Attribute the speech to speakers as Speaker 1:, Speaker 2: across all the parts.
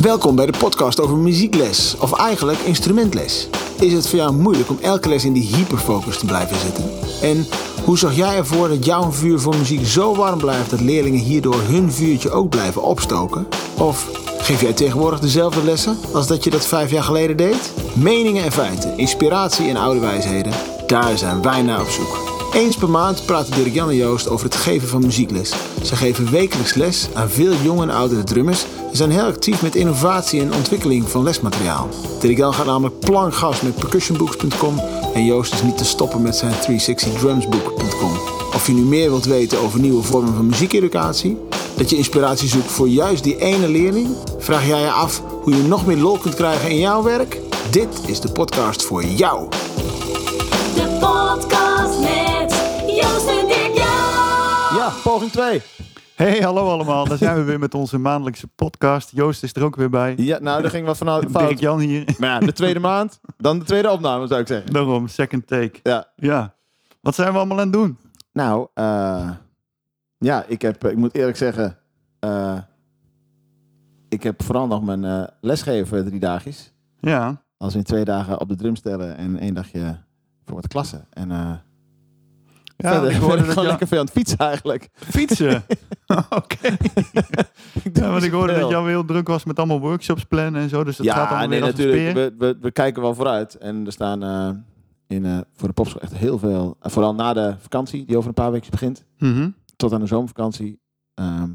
Speaker 1: Welkom bij de podcast over muziekles, of eigenlijk instrumentles. Is het voor jou moeilijk om elke les in die hyperfocus te blijven zitten? En hoe zorg jij ervoor dat jouw vuur voor muziek zo warm blijft dat leerlingen hierdoor hun vuurtje ook blijven opstoken? Of geef jij tegenwoordig dezelfde lessen als dat je dat vijf jaar geleden deed? Meningen en feiten, inspiratie en oude wijsheden, daar zijn wij naar op zoek. Eens per maand praten Dirk Jan en Joost over het geven van muziekles. Ze geven wekelijks les aan veel jonge en oudere drummers en zijn heel actief met innovatie en ontwikkeling van lesmateriaal. Dirk Jan gaat namelijk plankgas met percussionbooks.com en Joost is niet te stoppen met zijn 360drumsbook.com. Of je nu meer wilt weten over nieuwe vormen van muziekeducatie, dat je inspiratie zoekt voor juist die ene leerling, vraag jij je af hoe je nog meer lol kunt krijgen in jouw werk? Dit is de podcast voor jou.
Speaker 2: De podcast met Joost en Dirk Jan.
Speaker 1: Ja, poging 2.
Speaker 3: Hey, hallo allemaal. Daar zijn we weer met onze maandelijkse podcast. Joost is er ook weer bij.
Speaker 4: Ja, nou, daar ging wat vanuit
Speaker 3: Dirk
Speaker 4: fout.
Speaker 3: Jan hier.
Speaker 4: Maar ja, de tweede maand, dan de tweede opname, zou ik zeggen.
Speaker 3: Daarom, second take.
Speaker 4: Ja.
Speaker 3: Ja. Wat zijn we allemaal aan het doen?
Speaker 4: Nou, eh, ja, ik heb, ik moet eerlijk zeggen, eh, ik heb vooral nog mijn eh, lesgeven drie dagjes.
Speaker 3: Ja.
Speaker 4: Als in twee dagen op de drum stellen en één dagje voor wat klassen. En eh
Speaker 3: Ja,
Speaker 4: verder
Speaker 3: ik
Speaker 4: ben ik
Speaker 3: hoorde
Speaker 4: gewoon
Speaker 3: dat je
Speaker 4: lekker veel aan het fietsen eigenlijk.
Speaker 3: fietsen. Oké.
Speaker 4: Ik doe
Speaker 3: eh. Ja, want
Speaker 4: niet
Speaker 3: ik hoorde dat
Speaker 4: zoveel.
Speaker 3: Jan heel druk was met allemaal workshops plannen en zo. Dus dat gaat
Speaker 4: Ja, nee,
Speaker 3: allemaal weer als een
Speaker 4: natuurlijk.
Speaker 3: speer.
Speaker 4: We, we, we kijken wel vooruit. En er staan eh, in, eh, voor de popschool echt heel veel. en vooral na de vakantie, die over een paar weken begint.
Speaker 3: Mhm.
Speaker 4: tot aan de zomervakantie ehm,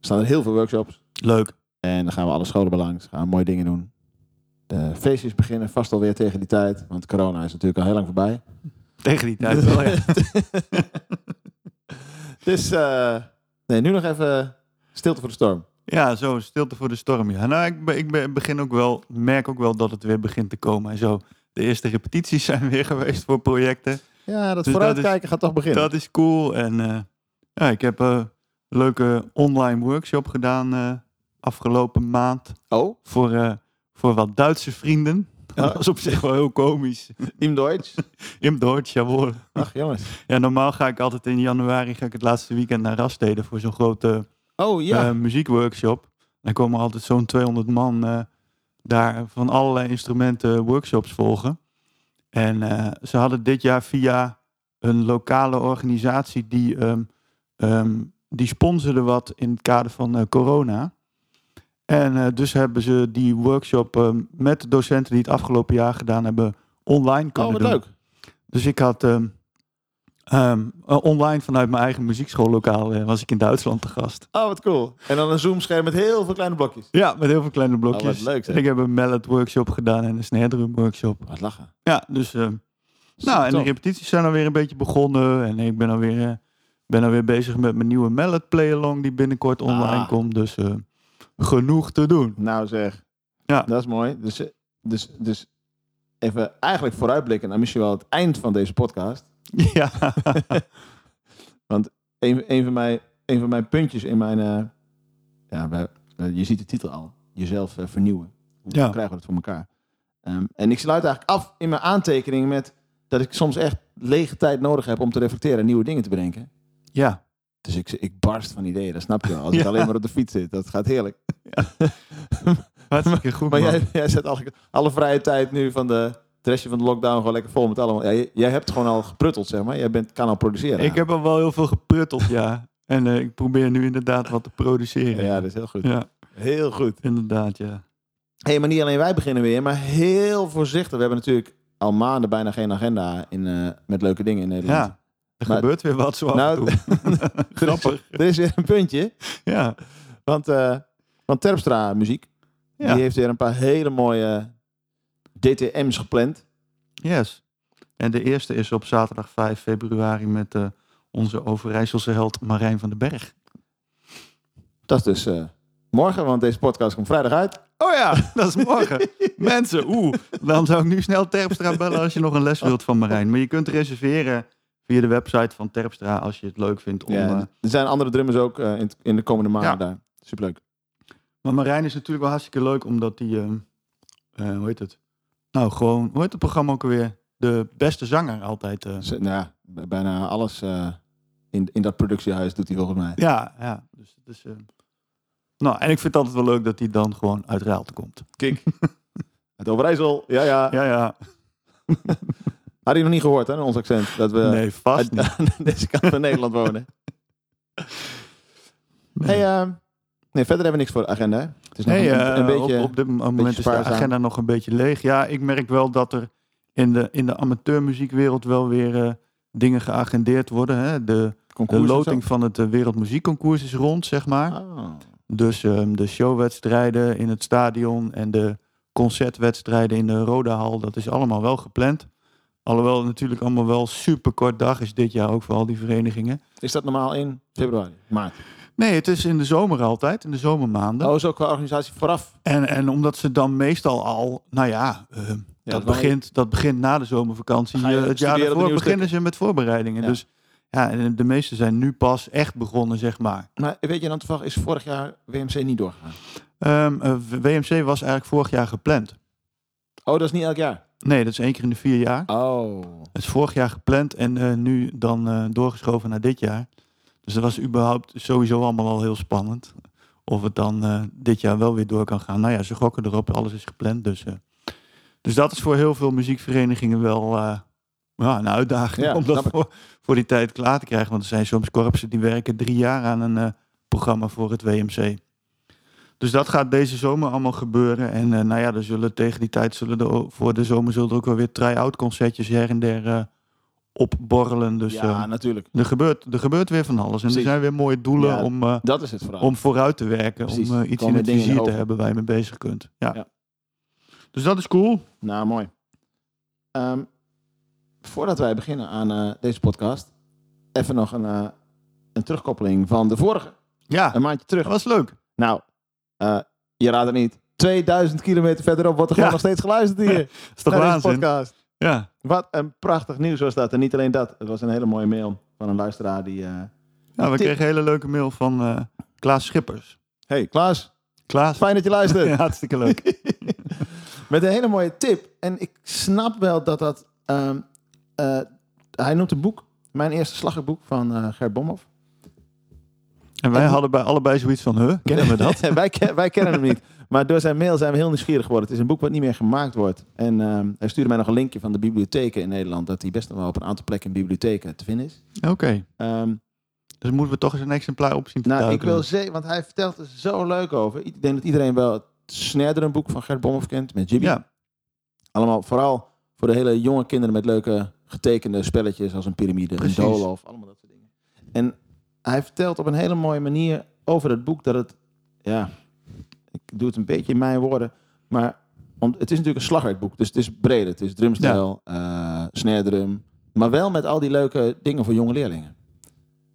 Speaker 4: staan er heel veel workshops.
Speaker 3: Leuk.
Speaker 4: En dan gaan we alle scholen bij langs, gaan we mooie dingen doen. De feestjes beginnen vast alweer tegen die tijd, want corona is natuurlijk al heel lang voorbij.
Speaker 3: Tegen die tijd wel, ja.
Speaker 4: Dus eh, nee, nu nog even stilte voor de storm.
Speaker 3: Ja, zo, stilte voor de storm. Ja. Nou, ik, be- ik be- begin ook wel, merk ook wel dat het weer begint te komen en zo. De eerste repetities zijn weer geweest voor projecten.
Speaker 4: Ja, dat
Speaker 3: Dus
Speaker 4: vooruitkijken
Speaker 3: dat
Speaker 4: gaat toch beginnen.
Speaker 3: Dat is cool. En eh, ja, ik heb eh, een leuke online workshop gedaan eh, afgelopen maand
Speaker 4: Oh,
Speaker 3: voor, eh, voor wat Duitse vrienden. Dat was op zich wel heel komisch.
Speaker 4: im Deutsch.
Speaker 3: Im Deutsch, jawohl.
Speaker 4: Ach jongens.
Speaker 3: Ja, normaal ga ik altijd in januari ga ik het laatste weekend naar Rasteden voor zo'n grote
Speaker 4: Oh
Speaker 3: eh, muziekworkshop. Dan komen altijd zo'n 200 man eh, daar van allerlei instrumenten workshops volgen. En eh, ze hadden dit jaar via een lokale organisatie die, ehm, ehm, die sponsorde wat in het kader van eh, corona. En eh, dus hebben ze die workshop ehm, met de docenten die het afgelopen jaar gedaan hebben online
Speaker 4: oh,
Speaker 3: kunnen
Speaker 4: wat
Speaker 3: doen.
Speaker 4: leuk.
Speaker 3: Dus ik had ehm, ehm, eh, online vanuit mijn eigen muziekschoollokaal eh, was ik in Duitsland te gast.
Speaker 4: Oh, wat cool. En dan een Zoom-scherm met heel veel kleine blokjes.
Speaker 3: Ja, met heel veel kleine
Speaker 4: Oh,
Speaker 3: blokjes.
Speaker 4: wat leuk, zeg.
Speaker 3: ik heb een mallet workshop gedaan en een snare drum workshop.
Speaker 4: Wat lachen.
Speaker 3: Ja, dus ehm, nou, en de
Speaker 4: Top.
Speaker 3: repetities zijn alweer een beetje begonnen. En ik ben alweer, eh, ben alweer bezig met mijn nieuwe mallet playalong die binnenkort online
Speaker 4: Ah.
Speaker 3: komt. Dus eh, genoeg te doen.
Speaker 4: Nou zeg.
Speaker 3: Ja.
Speaker 4: Dat is mooi. Dus, eh, dus, dus even eigenlijk vooruitblikken naar misschien wel het eind van deze podcast.
Speaker 3: ja.
Speaker 4: Een, een, van, mijn, een van mijn puntjes in mijn... eh, ja, wij- eh, je ziet de titel al. Jezelf eh, vernieuwen. Hoe
Speaker 3: Ja.
Speaker 4: krijgen we dat voor elkaar? Ehm, en ik sluit eigenlijk af in mijn aantekeningen met... dat ik soms echt lege tijd nodig heb om te reflecteren en nieuwe dingen te bedenken.
Speaker 3: ja.
Speaker 4: Dus ik, ik barst van ideeën, dat snap je wel. Als ik
Speaker 3: Ja.
Speaker 4: alleen maar op de fiets zit, dat gaat heerlijk.
Speaker 3: Hartstikke goed,
Speaker 4: Maar
Speaker 3: man.
Speaker 4: jij, jij zet alle, alle vrije tijd nu van de, het restje van de lockdown gewoon lekker vol met allemaal. Ja, jij, jij hebt gewoon al geprutteld, zeg maar. Jij bent, kan al produceren.
Speaker 3: Ik heb al wel heel veel geputteld, ja. En eh, ik probeer nu inderdaad wat te produceren.
Speaker 4: Ja, dat is heel goed.
Speaker 3: Ja,
Speaker 4: Heel goed.
Speaker 3: inderdaad, ja.
Speaker 4: Hé, hey, maar niet alleen wij beginnen weer, maar heel voorzichtig. We hebben natuurlijk al maanden bijna geen agenda in, eh, met leuke dingen in Nederland.
Speaker 3: Ja, er
Speaker 4: Maar-
Speaker 3: gebeurt weer wat zo af en
Speaker 4: Nou,
Speaker 3: toe. Grappig.
Speaker 4: Er is weer een puntje,
Speaker 3: Ja.
Speaker 4: want, eh, want Terpstra Muziek,
Speaker 3: ja.
Speaker 4: die heeft weer een paar hele mooie DTM's gepland.
Speaker 3: Yes. En de eerste is op zaterdag 5 februari met eh, onze Overijsselse held Marijn van den Berg.
Speaker 4: Dat is dus eh, morgen, want deze podcast komt vrijdag uit.
Speaker 3: Oh ja, dat is morgen. Mensen, oeh. Dan zou ik nu snel Terpstra bellen als je nog een les wilt van Marijn. Maar je kunt reserveren via de website van Terpstra als je het leuk vindt. Om,
Speaker 4: Ja,
Speaker 3: eh,
Speaker 4: en er zijn andere drummers ook eh, in, in de komende maanden
Speaker 3: Ja.
Speaker 4: daar. Superleuk.
Speaker 3: Maar Marijn is natuurlijk wel hartstikke leuk omdat hij, ehm, eh, hoe heet het? Nou, gewoon, hoe heet het programma ook alweer? De beste zanger altijd. eh.
Speaker 4: Z- nou ja, b- bijna alles eh, in, in dat productiehuis doet hij volgens mij.
Speaker 3: Ja, ja. Dus, het is, eh, Nou, en ik vind het altijd wel leuk dat hij dan gewoon uit Raalte komt.
Speaker 4: Kik. Het Overijssel. Ja, ja.
Speaker 3: Ja, ja.
Speaker 4: Had je nog niet gehoord, hè, ons accent? Dat we
Speaker 3: nee, vast niet.
Speaker 4: Eh, uit- aan deze kant van Nederland wonen.
Speaker 3: Nee.
Speaker 4: Hey, eh, nee, verder hebben we niks voor de agenda. hè? Het is nog
Speaker 3: Nee,
Speaker 4: een, een
Speaker 3: eh,
Speaker 4: beetje...
Speaker 3: op, op dit moment is de
Speaker 4: spaarzaam.
Speaker 3: agenda nog een beetje leeg. Ja, ik merk wel dat er in de, in de amateurmuziekwereld wel weer eh, dingen geagendeerd worden. Hè. De, de
Speaker 4: concours en
Speaker 3: loting van het eh, Wereldmuziekconcours is rond, zeg maar.
Speaker 4: zo. Ah.
Speaker 3: Dus ehm, de showwedstrijden in het stadion en de concertwedstrijden in de Roda Hal, dat is allemaal wel gepland. Alhoewel het natuurlijk allemaal wel super kort dag is dit jaar ook voor al die verenigingen.
Speaker 4: Is dat normaal in februari? Maart.
Speaker 3: Nee, het is in de zomer altijd, in de zomermaanden.
Speaker 4: Oh, is ook qua organisatie vooraf.
Speaker 3: En, en omdat ze dan meestal al, nou ja, ehm, dat,
Speaker 4: dan-
Speaker 3: begint, dat begint na de zomervakantie.
Speaker 4: Ga je
Speaker 3: eh, het jaar
Speaker 4: studeren op de
Speaker 3: daarvoor
Speaker 4: nieuwe
Speaker 3: beginnen ze met voorbereidingen.
Speaker 4: Ja.
Speaker 3: Dus ja, en de meeste zijn nu pas echt begonnen, zeg maar.
Speaker 4: Maar weet je, dan toevallig is vorig jaar WMC niet doorgegaan.
Speaker 3: Ehm, eh, WMC was eigenlijk vorig jaar gepland.
Speaker 4: Oh, dat is niet elk jaar?
Speaker 3: Nee, dat is één keer in de vier jaar.
Speaker 4: Oh.
Speaker 3: Het is vorig jaar gepland en eh, nu dan eh, doorgeschoven naar dit jaar. Dus dat was überhaupt sowieso allemaal al heel spannend. Of het dan eh, dit jaar wel weer door kan gaan. Nou ja, ze gokken erop, alles is gepland. Dus, eh, dus dat is voor heel veel muziekverenigingen wel eh, ja, een uitdaging
Speaker 4: Ja,
Speaker 3: om dat
Speaker 4: snap ik.
Speaker 3: voor, voor die tijd klaar te krijgen. Want er zijn soms korpsen die werken drie jaar aan een eh, programma voor het WMC. Dus dat gaat deze zomer allemaal gebeuren. En eh, nou ja, er zullen tegen die tijd zullen er o- voor de zomer zullen er ook wel weer try-out concertjes her en der eh, opborrelen. Dus
Speaker 4: ja,
Speaker 3: eh,
Speaker 4: natuurlijk.
Speaker 3: er, gebeurt, er gebeurt weer van alles. En er
Speaker 4: Precies.
Speaker 3: zijn weer mooie doelen
Speaker 4: Ja.
Speaker 3: om, eh,
Speaker 4: Dat is het vooral.
Speaker 3: om vooruit te werken.
Speaker 4: Precies.
Speaker 3: Om eh, iets
Speaker 4: Komen
Speaker 3: in het
Speaker 4: dingen
Speaker 3: vizier te
Speaker 4: over.
Speaker 3: hebben waar je mee bezig kunt. Ja.
Speaker 4: Ja.
Speaker 3: Dus dat is cool.
Speaker 4: Nou, mooi. Ehm, voordat wij beginnen aan eh, deze podcast, even nog een, eh, een terugkoppeling van de vorige.
Speaker 3: Ja,
Speaker 4: Een maandje terug.
Speaker 3: dat was leuk.
Speaker 4: Nou, eh, je raadt het niet. 2000 kilometer verderop wordt er gewoon
Speaker 3: Ja.
Speaker 4: nog steeds geluisterd hier.
Speaker 3: Dat is toch
Speaker 4: naar deze
Speaker 3: waanzin?
Speaker 4: podcast.
Speaker 3: Ja.
Speaker 4: Wat een prachtig nieuws was dat. En niet alleen dat, het was een hele mooie mail van een luisteraar die... eh,
Speaker 3: ja,
Speaker 4: Tip.
Speaker 3: we kregen een hele leuke mail van eh, Klaas Schippers.
Speaker 4: Hey Klaas,
Speaker 3: Klaas,
Speaker 4: fijn dat je luistert.
Speaker 3: ja, hartstikke leuk.
Speaker 4: Met een hele mooie tip. En ik snap wel dat dat... ehm, eh, hij noemt een boek, mijn eerste slaggerboek van eh Ger Bomhoff.
Speaker 3: En wij hadden bij allebei zoiets van, huh, kennen we dat?
Speaker 4: wij, ken- wij kennen hem niet. Maar door zijn mail zijn we heel nieuwsgierig geworden. Het is een boek wat niet meer gemaakt wordt. En ehm, hij stuurde mij nog een linkje van de bibliotheken in Nederland. Dat hij best nog wel op een aantal plekken in bibliotheken te vinden is.
Speaker 3: Oké,
Speaker 4: Ehm,
Speaker 3: dus moeten we toch eens een exemplaar op zien te
Speaker 4: Nou, ik
Speaker 3: duiken.
Speaker 4: wil zeker, want hij vertelt er zo leuk over. Ik denk dat iedereen wel het snerdere boek van Gert Bomhoff kent met Jibby.
Speaker 3: Ja,
Speaker 4: Allemaal vooral voor de hele jonge kinderen met leuke getekende spelletjes als een piramide,
Speaker 3: Precies.
Speaker 4: een doolhof, allemaal dat soort dingen. En hij vertelt op een hele mooie manier over het boek dat het, ja, ik doe het een beetje in mijn woorden, maar om, het is natuurlijk een slagwerkboek, dus het is breed. Het is drumstijl, eh snare drum, maar wel met al die leuke dingen voor jonge leerlingen.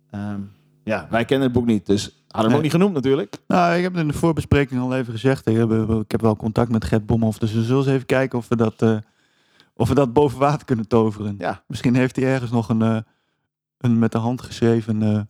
Speaker 4: Ehm, ja, wij kennen het boek niet, dus hadden we hem
Speaker 3: Nee.
Speaker 4: ook niet genoemd natuurlijk.
Speaker 3: nou, ik heb het in de voorbespreking al even gezegd. Ik heb, eh, ik heb wel contact met Gert Bomhoff, dus we zullen eens even kijken of we dat, eh, of we dat boven water kunnen toveren.
Speaker 4: Ja.
Speaker 3: Misschien heeft hij ergens nog een, eh, een met de hand geschreven eh,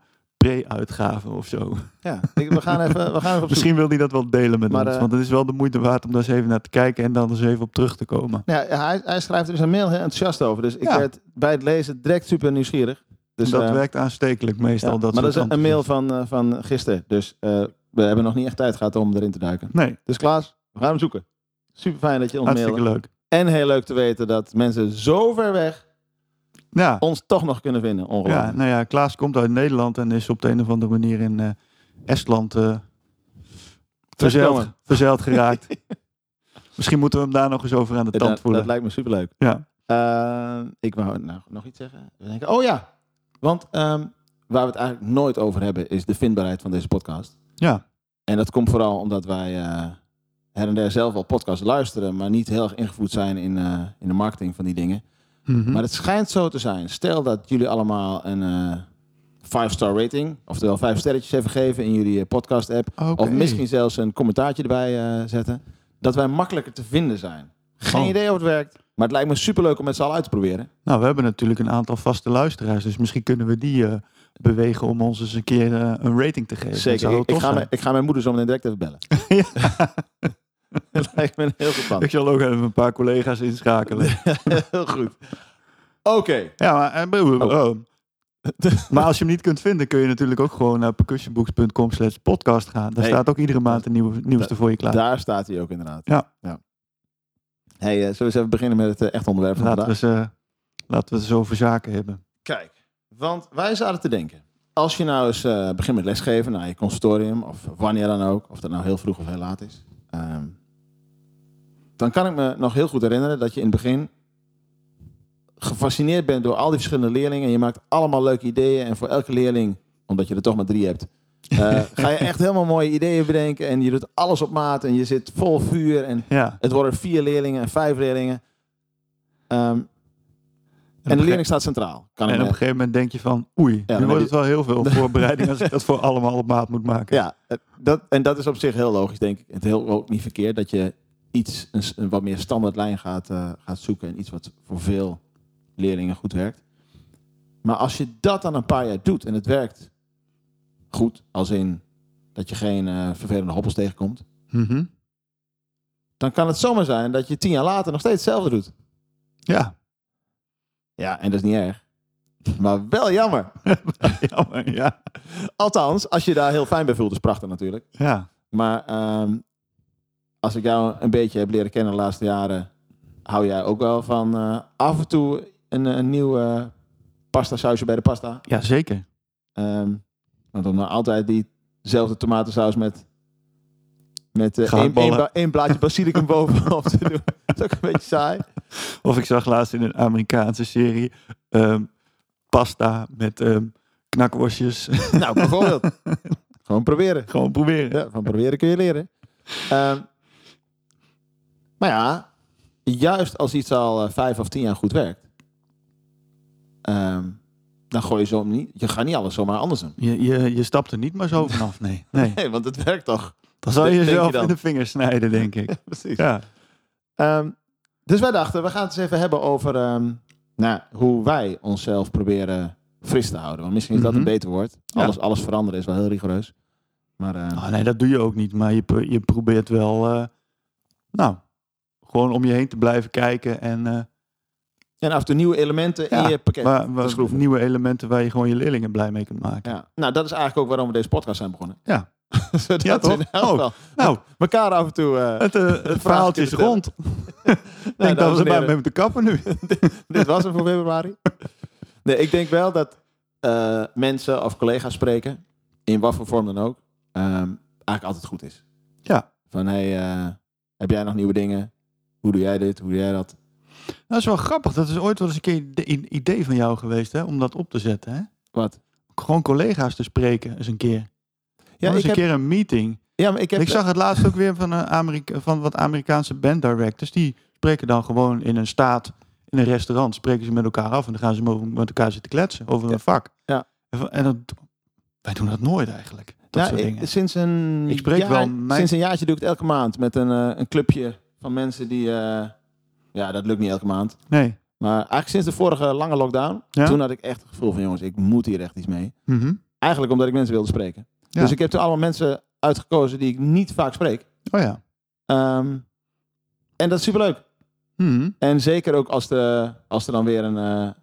Speaker 3: pre-uitgave of zo.
Speaker 4: Ja, ik- we gaan even, we gaan even op zoek.
Speaker 3: Misschien wil hij dat wel delen met
Speaker 4: Maar,
Speaker 3: ons,
Speaker 4: eh,
Speaker 3: want het is wel de moeite waard om daar eens even naar te kijken en dan eens even op terug te komen.
Speaker 4: Nou Ja, hij, hij schrijft er in zijn mail heel enthousiast over. Dus ik
Speaker 3: Ja.
Speaker 4: werd bij het lezen direct super nieuwsgierig. Dus,
Speaker 3: dat
Speaker 4: eh,
Speaker 3: werkt aanstekelijk meestal.
Speaker 4: ja,
Speaker 3: dat
Speaker 4: maar dat
Speaker 3: soort
Speaker 4: is een- een
Speaker 3: enthousiasme.
Speaker 4: mail van, eh, van gisteren. Dus eh, we hebben nog niet echt tijd gehad om erin te duiken.
Speaker 3: Nee,
Speaker 4: Dus Klaas, we gaan hem zoeken. Super fijn dat je ons
Speaker 3: hartstikke
Speaker 4: mailde.
Speaker 3: leuk.
Speaker 4: En heel leuk te weten dat mensen zo ver weg
Speaker 3: Ja.
Speaker 4: ons toch nog kunnen vinden. Ongelooflijk.
Speaker 3: Ja, nou ja, Klaas komt uit Nederland en is op de een of andere manier in eh, Estland eh, verzeild,
Speaker 4: Terugkomen.
Speaker 3: verzeild geraakt. Misschien moeten we hem daar nog eens over aan de
Speaker 4: dat,
Speaker 3: tand voelen.
Speaker 4: dat lijkt me superleuk.
Speaker 3: ja.
Speaker 4: Eh, ik wou nou, nog iets zeggen. We denken, oh ja, want ehm, waar we het eigenlijk nooit over hebben is de vindbaarheid van deze podcast.
Speaker 3: ja,
Speaker 4: En dat komt vooral omdat wij eh, her en der zelf al podcasts luisteren, maar niet heel erg ingevoerd zijn in, eh, in de marketing van die dingen.
Speaker 3: Mhm.
Speaker 4: Maar het schijnt zo te zijn. Stel dat jullie allemaal een eh, five-star rating, oftewel vijf sterretjes hebben gegeven in jullie eh, podcast-app,
Speaker 3: Oké.
Speaker 4: of misschien zelfs een commentaartje erbij eh, zetten, dat wij makkelijker te vinden zijn. Geen
Speaker 3: Oh.
Speaker 4: idee hoe het werkt, maar het lijkt me superleuk om met z'n allen uit te proberen.
Speaker 3: Nou, we hebben natuurlijk een aantal vaste luisteraars, dus misschien kunnen we die eh, bewegen om ons eens een keer eh, een rating te geven. Dat zou
Speaker 4: Ik,
Speaker 3: heel
Speaker 4: ik
Speaker 3: tof
Speaker 4: ga
Speaker 3: zijn.
Speaker 4: mijn, ik ga mijn moeder zo meteen direct even bellen. Dat lijkt me een heel goed plan.
Speaker 3: Ik zal ook even een paar collega's inschakelen.
Speaker 4: Heel goed. Oké.
Speaker 3: ja, maar eh,
Speaker 4: Oh.
Speaker 3: oh, Maar als je hem niet kunt vinden, kun je natuurlijk ook gewoon naar percussionbooks.com slash podcast gaan. Daar
Speaker 4: Hey.
Speaker 3: staat ook iedere maand een nieuwe, nieuwste voor je klaar.
Speaker 4: Daar staat hij ook inderdaad.
Speaker 3: Ja.
Speaker 4: Hey, eh, zullen we eens even beginnen met het eh, echt onderwerp van
Speaker 3: Laten we,
Speaker 4: vandaag?
Speaker 3: ze, laten we ze over zaken hebben.
Speaker 4: Kijk, want wij zaten te denken. Als je nou eens eh, begint met lesgeven naar je conservatorium, of wanneer dan ook, of dat nou heel vroeg of heel laat is, ehm, dan kan ik me nog heel goed herinneren dat je in het begin gefascineerd bent door al die verschillende leerlingen. En je maakt allemaal leuke ideeën. En voor elke leerling, omdat je er toch maar drie hebt, eh, ga je echt helemaal mooie ideeën bedenken. En je doet alles op maat en je zit vol vuur. En
Speaker 3: Ja.
Speaker 4: het worden vier leerlingen en vijf leerlingen. Ehm, en de leerling staat centraal. Kan ik
Speaker 3: En op
Speaker 4: me-
Speaker 3: een gegeven moment denk je van, oei,
Speaker 4: dan
Speaker 3: nu
Speaker 4: heb
Speaker 3: wordt
Speaker 4: je-
Speaker 3: het wel heel veel voorbereiding als ik dat voor allemaal op maat moet maken.
Speaker 4: Ja, eh, dat, en dat is op zich heel logisch, denk ik. Het heel ook niet verkeerd dat je iets, een, s- een wat meer standaardlijn gaat, eh, gaat zoeken. En iets wat voor veel leerlingen goed werkt. Maar als je dat dan een paar jaar doet en het werkt goed, als in dat je geen eh, vervelende hobbels tegenkomt.
Speaker 3: Mhm.
Speaker 4: Dan kan het zomaar zijn dat je tien jaar later nog steeds hetzelfde doet.
Speaker 3: ja.
Speaker 4: Ja, en dat is niet erg. Maar wel jammer.
Speaker 3: Jammer, ja.
Speaker 4: Althans, als je daar heel fijn bij voelt, is prachtig natuurlijk.
Speaker 3: Ja.
Speaker 4: Maar ehm, als ik jou een beetje heb leren kennen de laatste jaren, hou jij ook wel van eh, af en toe een, een nieuw eh, pasta sausje bij de pasta.
Speaker 3: ja, zeker.
Speaker 4: Ehm, want om nou altijd diezelfde tomatensaus met, met eh, één,
Speaker 3: Gehaktballen.
Speaker 4: één bla- één blaadje basilicum bovenop te doen, dat is ook een beetje saai.
Speaker 3: Of ik zag laatst in een Amerikaanse serie ehm, pasta met ehm, knakworstjes.
Speaker 4: Nou, bijvoorbeeld. Gewoon proberen.
Speaker 3: Gewoon proberen.
Speaker 4: Ja, van proberen kun je leren. Ehm, maar ja, juist als iets al eh, vijf of tien jaar goed werkt, ehm, dan gooi je zo niet. Je gaat niet alles zomaar anders doen.
Speaker 3: Je, je, je stapt er niet maar zo vanaf, nee. nee.
Speaker 4: Nee, want het werkt toch?
Speaker 3: Dan zal je
Speaker 4: Denk je
Speaker 3: jezelf
Speaker 4: dan?
Speaker 3: in de vingers snijden, denk ik.
Speaker 4: Precies.
Speaker 3: Ja.
Speaker 4: Ehm, dus wij dachten, we gaan het eens even hebben over ehm, nou, hoe wij onszelf proberen fris te houden. Want misschien is dat
Speaker 3: Mhm.
Speaker 4: een beter woord.
Speaker 3: Ja.
Speaker 4: Alles, alles veranderen is wel heel rigoureus. Maar eh,
Speaker 3: Oh, nee, dat doe je ook niet. Maar je, pro- je probeert wel, eh, nou, gewoon om je heen te blijven kijken. En eh,
Speaker 4: en af en toe nieuwe elementen
Speaker 3: Ja,
Speaker 4: in je pakket.
Speaker 3: waar,
Speaker 4: te
Speaker 3: waar-
Speaker 4: schroeven.
Speaker 3: nieuwe elementen waar je gewoon je leerlingen blij mee kunt maken.
Speaker 4: Ja. Nou, dat is eigenlijk ook waarom we deze podcast zijn begonnen.
Speaker 3: Ja.
Speaker 4: Zodat
Speaker 3: Ja,
Speaker 4: we
Speaker 3: toch?
Speaker 4: in elk geval
Speaker 3: Nou,
Speaker 4: elkaar af en toe... eh,
Speaker 3: het, eh, het verhaaltje is
Speaker 4: vertellen.
Speaker 3: rond. Ik
Speaker 4: nou,
Speaker 3: denk
Speaker 4: dames
Speaker 3: dat we
Speaker 4: en
Speaker 3: erbij
Speaker 4: heren,
Speaker 3: mee moeten kappen nu.
Speaker 4: Dit was hem voor februari. Nee, ik denk wel dat eh, mensen of collega's spreken, in wat voor vorm dan ook, ehm, eigenlijk altijd goed is.
Speaker 3: Ja.
Speaker 4: Van, hé, hey, eh, heb jij nog nieuwe dingen? Hoe doe jij dit? Hoe doe jij dat?
Speaker 3: Dat Nou, is wel grappig. Dat is ooit wel eens een keer een idee van jou geweest, hè? Om dat op te zetten, hè?
Speaker 4: Wat?
Speaker 3: Gewoon collega's te spreken eens een keer.
Speaker 4: Ja,
Speaker 3: Ja,
Speaker 4: ik
Speaker 3: eens een
Speaker 4: heb,
Speaker 3: keer een meeting.
Speaker 4: ja maar ik heb... eh,
Speaker 3: Ik zag het laatst ook weer van, een Amerika van wat Amerikaanse band directors. Die spreken dan gewoon in een staat, in een restaurant, spreken ze met elkaar af. En dan gaan ze mo- met elkaar zitten kletsen over
Speaker 4: Ja.
Speaker 3: een vak.
Speaker 4: Ja.
Speaker 3: En van- En dat, wij doen dat nooit eigenlijk. Dat
Speaker 4: Nou,
Speaker 3: soort
Speaker 4: ik-
Speaker 3: dingen.
Speaker 4: Sinds een,
Speaker 3: Ik spreek
Speaker 4: jaar-
Speaker 3: wel mijn-
Speaker 4: sinds een jaartje doe ik het elke maand met een, eh, een clubje van mensen die... eh, ja, dat lukt niet elke maand.
Speaker 3: Nee.
Speaker 4: Maar eigenlijk sinds de vorige lange lockdown,
Speaker 3: Ja?
Speaker 4: toen had ik echt het gevoel van jongens, ik moet hier echt iets mee.
Speaker 3: Mhm.
Speaker 4: Eigenlijk omdat ik mensen wilde spreken.
Speaker 3: Ja.
Speaker 4: Dus ik heb toen allemaal mensen uitgekozen die ik niet vaak spreek.
Speaker 3: Oh ja.
Speaker 4: Ehm, en dat is superleuk.
Speaker 3: Mhm.
Speaker 4: En zeker ook als, de, als er dan weer een, eh,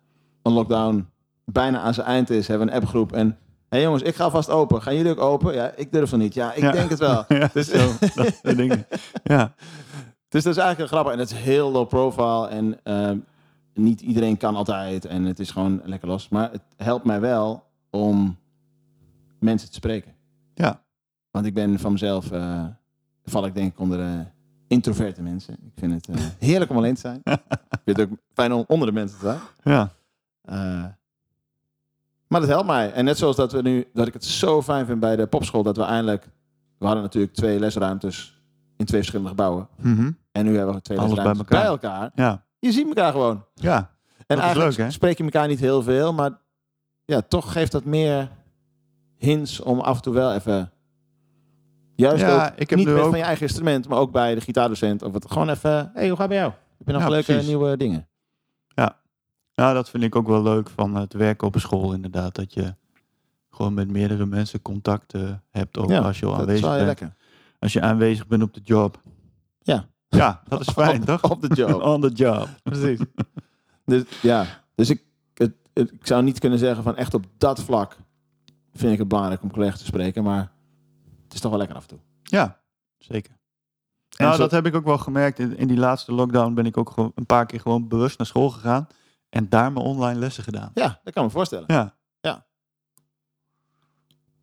Speaker 4: een lockdown bijna aan zijn eind is, hebben we een appgroep. En hey jongens, ik ga vast open. Gaan jullie ook open? Ja, ik durf nog niet. Ja, ik
Speaker 3: Ja.
Speaker 4: denk het wel.
Speaker 3: Ja,
Speaker 4: Dus-
Speaker 3: zo, dat soort dingen. Ja.
Speaker 4: Dus dat is eigenlijk heel grappig. En het is heel low profile. En ehm, niet iedereen kan altijd. En het is gewoon lekker los. Maar het helpt mij wel om mensen te spreken.
Speaker 3: Ja.
Speaker 4: Want ik ben van mezelf... eh, val ik denk ik onder de introverte mensen. Ik vind het eh, heerlijk om alleen te zijn. ik vind het ook fijn om onder de mensen te zijn.
Speaker 3: Ja.
Speaker 4: Eh, maar dat helpt mij. En net zoals dat we nu, dat ik het zo fijn vind bij de popschool, dat we eindelijk, we hadden natuurlijk twee lesruimtes in twee verschillende gebouwen.
Speaker 3: Mhm.
Speaker 4: En nu hebben we twee
Speaker 3: Alles
Speaker 4: lesruimtes
Speaker 3: bij elkaar.
Speaker 4: bij elkaar.
Speaker 3: Ja.
Speaker 4: Je ziet elkaar gewoon.
Speaker 3: Ja.
Speaker 4: En
Speaker 3: is
Speaker 4: eigenlijk
Speaker 3: leuk, hè?
Speaker 4: spreek je elkaar niet heel veel, maar ja, toch geeft dat meer hints om af en toe wel even. Juist
Speaker 3: Ja,
Speaker 4: ook,
Speaker 3: ik heb
Speaker 4: niet
Speaker 3: nu
Speaker 4: met
Speaker 3: ook-
Speaker 4: van je eigen instrument, maar ook bij de gitaardocent. Of het gewoon even, hé, hey, hoe gaat het bij jou? Heb je nog
Speaker 3: Ja,
Speaker 4: leuke
Speaker 3: precies.
Speaker 4: nieuwe dingen?
Speaker 3: Ja, Nou, dat vind ik ook wel leuk van het werken op een school inderdaad. Dat je gewoon met meerdere mensen contact eh, hebt. Ook
Speaker 4: Ja,
Speaker 3: als je al
Speaker 4: dat is
Speaker 3: aanwezig
Speaker 4: wel heel
Speaker 3: bent.
Speaker 4: lekker.
Speaker 3: Als je aanwezig bent op de job.
Speaker 4: Ja.
Speaker 3: Ja, dat is fijn, toch?
Speaker 4: Op de job.
Speaker 3: On the job.
Speaker 4: Precies. Dus ja, dus ik, het, het- ik zou niet kunnen zeggen van echt op dat vlak vind ik het belangrijk om collega's te spreken, maar het is toch wel lekker af en toe.
Speaker 3: Ja, zeker. nou,
Speaker 4: zo-
Speaker 3: dat heb ik ook wel gemerkt. In, in die laatste lockdown ben ik ook gewoon een paar keer gewoon bewust naar school gegaan. En daar mijn online lessen gedaan.
Speaker 4: Ja, dat kan ik me voorstellen.
Speaker 3: Ja.
Speaker 4: Ja.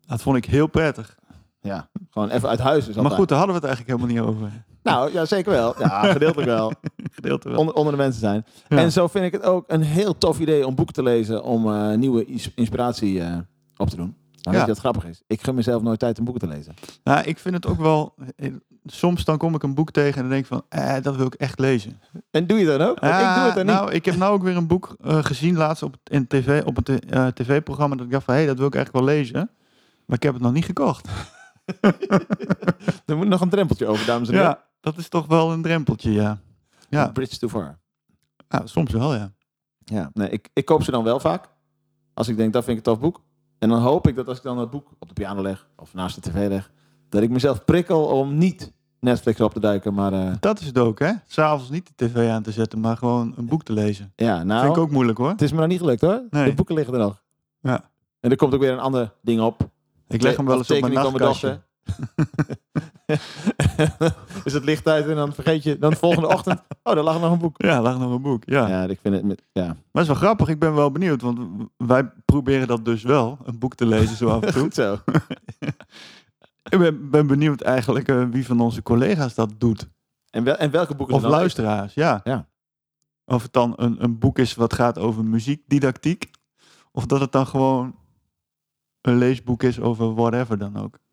Speaker 3: Dat vond ik heel prettig.
Speaker 4: Ja, gewoon even uit huis. Is
Speaker 3: maar
Speaker 4: altijd-
Speaker 3: goed, daar hadden we het eigenlijk helemaal niet over.
Speaker 4: Nou, ja, zeker wel. Ja, gedeeltelijk wel.
Speaker 3: Gedeelte wel.
Speaker 4: Onder, onder de mensen zijn.
Speaker 3: Ja.
Speaker 4: En zo vind ik het ook een heel tof idee om boeken te lezen om eh, nieuwe is- inspiratie eh, op te doen. Maar weet
Speaker 3: Ja.
Speaker 4: je wat grappig is? Ik gun mezelf nooit tijd om boeken te lezen.
Speaker 3: Nou, ik vind het ook wel... eh, Soms dan kom ik een boek tegen en dan denk ik van... Eh, dat wil ik echt lezen.
Speaker 4: En doe je dat ook? Want Oh, ik doe
Speaker 3: Ah,
Speaker 4: het dan niet.
Speaker 3: Nou, ik heb nou ook weer een boek eh, gezien laatst op, het- in TV, op een t- eh, tv-programma. Dat ik dacht van, hé, hey, dat wil ik eigenlijk wel lezen. Maar ik heb het nog niet gekocht.
Speaker 4: Er moet nog een drempeltje over, dames en heren.
Speaker 3: Ja, dat is toch wel een drempeltje, ja. Ja,
Speaker 4: Bridge too far.
Speaker 3: ja, soms wel, ja.
Speaker 4: Nou, Ja, nee, ik, ik koop ze dan wel vaak. Als ik denk, dat vind ik een tof boek. En dan hoop ik dat als ik dan dat boek op de piano leg of naast de tv leg, dat ik mezelf prikkel om niet Netflix op te duiken. Maar eh,
Speaker 3: Dat is het ook, hè? S'avonds niet de tv aan te zetten, maar gewoon een boek te lezen.
Speaker 4: ja, nou,
Speaker 3: Vind ik ook moeilijk, hoor.
Speaker 4: het is me nog niet gelukt hoor.
Speaker 3: Nee.
Speaker 4: De boeken liggen er nog.
Speaker 3: Ja.
Speaker 4: En er komt ook weer een ander ding op.
Speaker 3: Ik leg hem wel eens op mijn
Speaker 4: Tekening van
Speaker 3: nachtkastje.
Speaker 4: dochter. is het licht uit en dan vergeet je, dan de volgende ochtend, oh, daar lag nog een boek.
Speaker 3: Ja, lag nog een boek, ja.
Speaker 4: Ja, ik vind het, met- ja,
Speaker 3: Maar het is wel grappig, ik ben wel benieuwd, want wij proberen dat dus wel, een boek te lezen zo af en toe.
Speaker 4: goed zo.
Speaker 3: ik ben, ben benieuwd eigenlijk eh, wie van onze collega's dat doet.
Speaker 4: En, wel, en welke boeken
Speaker 3: Of
Speaker 4: ze dan
Speaker 3: luisteraars, ja.
Speaker 4: Ja.
Speaker 3: Of het dan een, een boek is wat gaat over muziekdidactiek. Of dat het dan gewoon een leesboek is over whatever dan ook.
Speaker 4: lezen?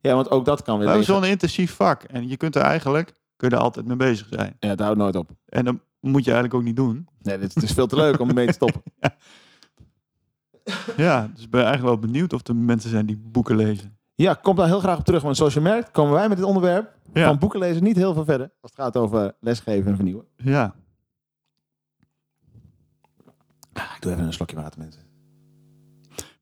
Speaker 4: Ja, want ook dat kan
Speaker 3: We
Speaker 4: weer.
Speaker 3: hebben
Speaker 4: liggen.
Speaker 3: zo'n intensief vak. En je kunt er eigenlijk kun je er altijd mee bezig zijn.
Speaker 4: Ja, het houdt nooit op.
Speaker 3: En dat moet je eigenlijk ook niet doen.
Speaker 4: Nee, dit, het is veel te leuk om mee te stoppen.
Speaker 3: Ja, dus ik ben eigenlijk wel benieuwd of er mensen zijn die boeken lezen.
Speaker 4: Ja, kom daar heel graag op terug. Want zoals je merkt, komen wij met dit onderwerp
Speaker 3: Ja,
Speaker 4: van boeken lezen niet heel veel verder. Als het gaat over lesgeven en vernieuwen.
Speaker 3: ja.
Speaker 4: Ah, Ik doe even een slokje water, mensen.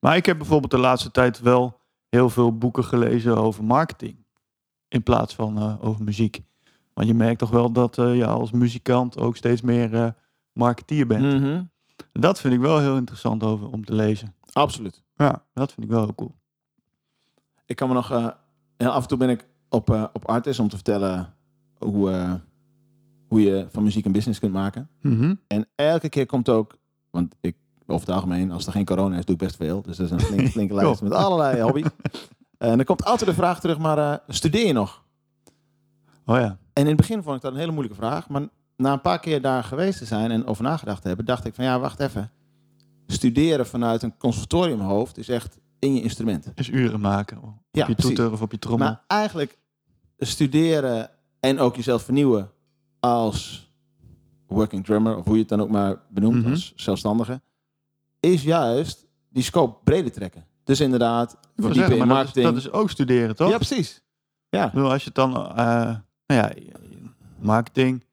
Speaker 3: Maar ik heb bijvoorbeeld de laatste tijd wel heel veel boeken gelezen over marketing. In plaats van eh, over muziek. Want je merkt toch wel dat eh, je als muzikant ook steeds meer eh, marketeer
Speaker 4: Mm.
Speaker 3: bent.
Speaker 4: Mhm.
Speaker 3: Dat vind ik wel heel interessant over, om te lezen.
Speaker 4: Absoluut.
Speaker 3: Ja, dat vind ik wel heel cool.
Speaker 4: Ik kan me nog... eh, heel af en toe ben ik op, eh op Artis om te vertellen hoe, eh, hoe je van muziek een business kunt maken. En elke keer komt ook... Want ik, over het algemeen, als er geen corona is, doe ik best veel. Dus dat is een flink, flinke lijst met allerlei hobby's. En dan komt altijd de vraag terug, maar eh, studeer je nog?
Speaker 3: Oh ja.
Speaker 4: En in het begin vond ik dat een hele moeilijke vraag. Maar na een paar keer daar geweest te zijn en over nagedacht te hebben, dacht ik van ja, wacht even. Studeren vanuit een conservatoriumhoofd is echt in je instrument.
Speaker 3: Is uren maken. Op
Speaker 4: Ja,
Speaker 3: je
Speaker 4: precies.
Speaker 3: toeter of op je trommel.
Speaker 4: Maar eigenlijk studeren en ook jezelf vernieuwen als working drummer, of hoe je het dan ook maar benoemt
Speaker 3: Mhm.
Speaker 4: als zelfstandige, is juist die scope breder trekken. Dus inderdaad,
Speaker 3: Ik wil
Speaker 4: verdiepen
Speaker 3: zeggen,
Speaker 4: in
Speaker 3: maar dat, is,
Speaker 4: marketing.
Speaker 3: dat is ook studeren, toch?
Speaker 4: ja, precies.
Speaker 3: Ik bedoel, als je het dan, eh, nou ja, marketing,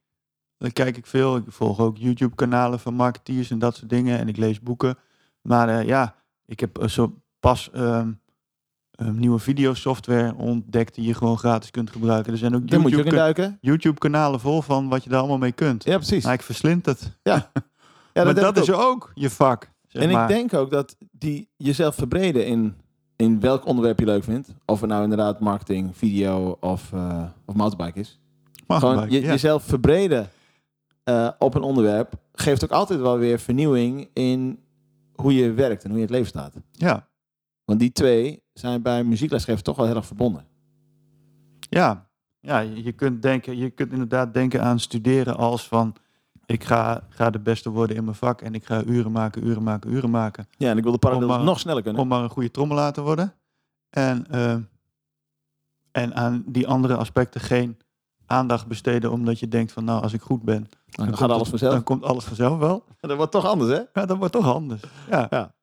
Speaker 3: dan kijk ik veel. Ik volg ook YouTube-kanalen van marketeers en dat soort dingen. En ik lees boeken. Maar eh, ja, ik heb eh, zo pas ehm, een nieuwe videosoftware ontdekt die je gewoon gratis kunt gebruiken. Er zijn ook
Speaker 4: Daar moet je ook in
Speaker 3: YouTube-
Speaker 4: duiken.
Speaker 3: YouTube-kanalen vol van wat je daar allemaal mee kunt.
Speaker 4: Ja, precies.
Speaker 3: Maar ik verslind het.
Speaker 4: Ja,
Speaker 3: maar
Speaker 4: heb
Speaker 3: dat
Speaker 4: ik ook.
Speaker 3: is ook je vak. Zeg
Speaker 4: En
Speaker 3: maar.
Speaker 4: ik denk ook dat die jezelf verbreden in, in welk onderwerp je leuk vindt. Of het nou inderdaad marketing, video of, eh, of mountainbike is.
Speaker 3: Mag
Speaker 4: Gewoon
Speaker 3: maar,
Speaker 4: je,
Speaker 3: ja.
Speaker 4: jezelf verbreden eh, op een onderwerp geeft ook altijd wel weer vernieuwing in hoe je werkt en hoe je in het leven staat.
Speaker 3: ja.
Speaker 4: Want die twee zijn bij muzieklesgeven toch wel heel erg verbonden.
Speaker 3: Ja, ja je, je kunt denken, je kunt inderdaad denken aan studeren als van ik ga, ga de beste worden in mijn vak en ik ga uren maken, uren maken, uren maken.
Speaker 4: Ja, en ik wil de parallel
Speaker 3: Om, eh,
Speaker 4: nog sneller kunnen.
Speaker 3: Om maar een goede trommelaar te worden. En, eh, en aan die andere aspecten geen aandacht besteden, omdat je denkt van nou, als ik goed ben,
Speaker 4: dan
Speaker 3: komt
Speaker 4: gaat
Speaker 3: het-
Speaker 4: alles vanzelf.
Speaker 3: Nou, dan komt alles vanzelf wel.
Speaker 4: Dat wordt toch anders, hè?
Speaker 3: Ja, dat wordt toch anders. Ja.
Speaker 4: Ja.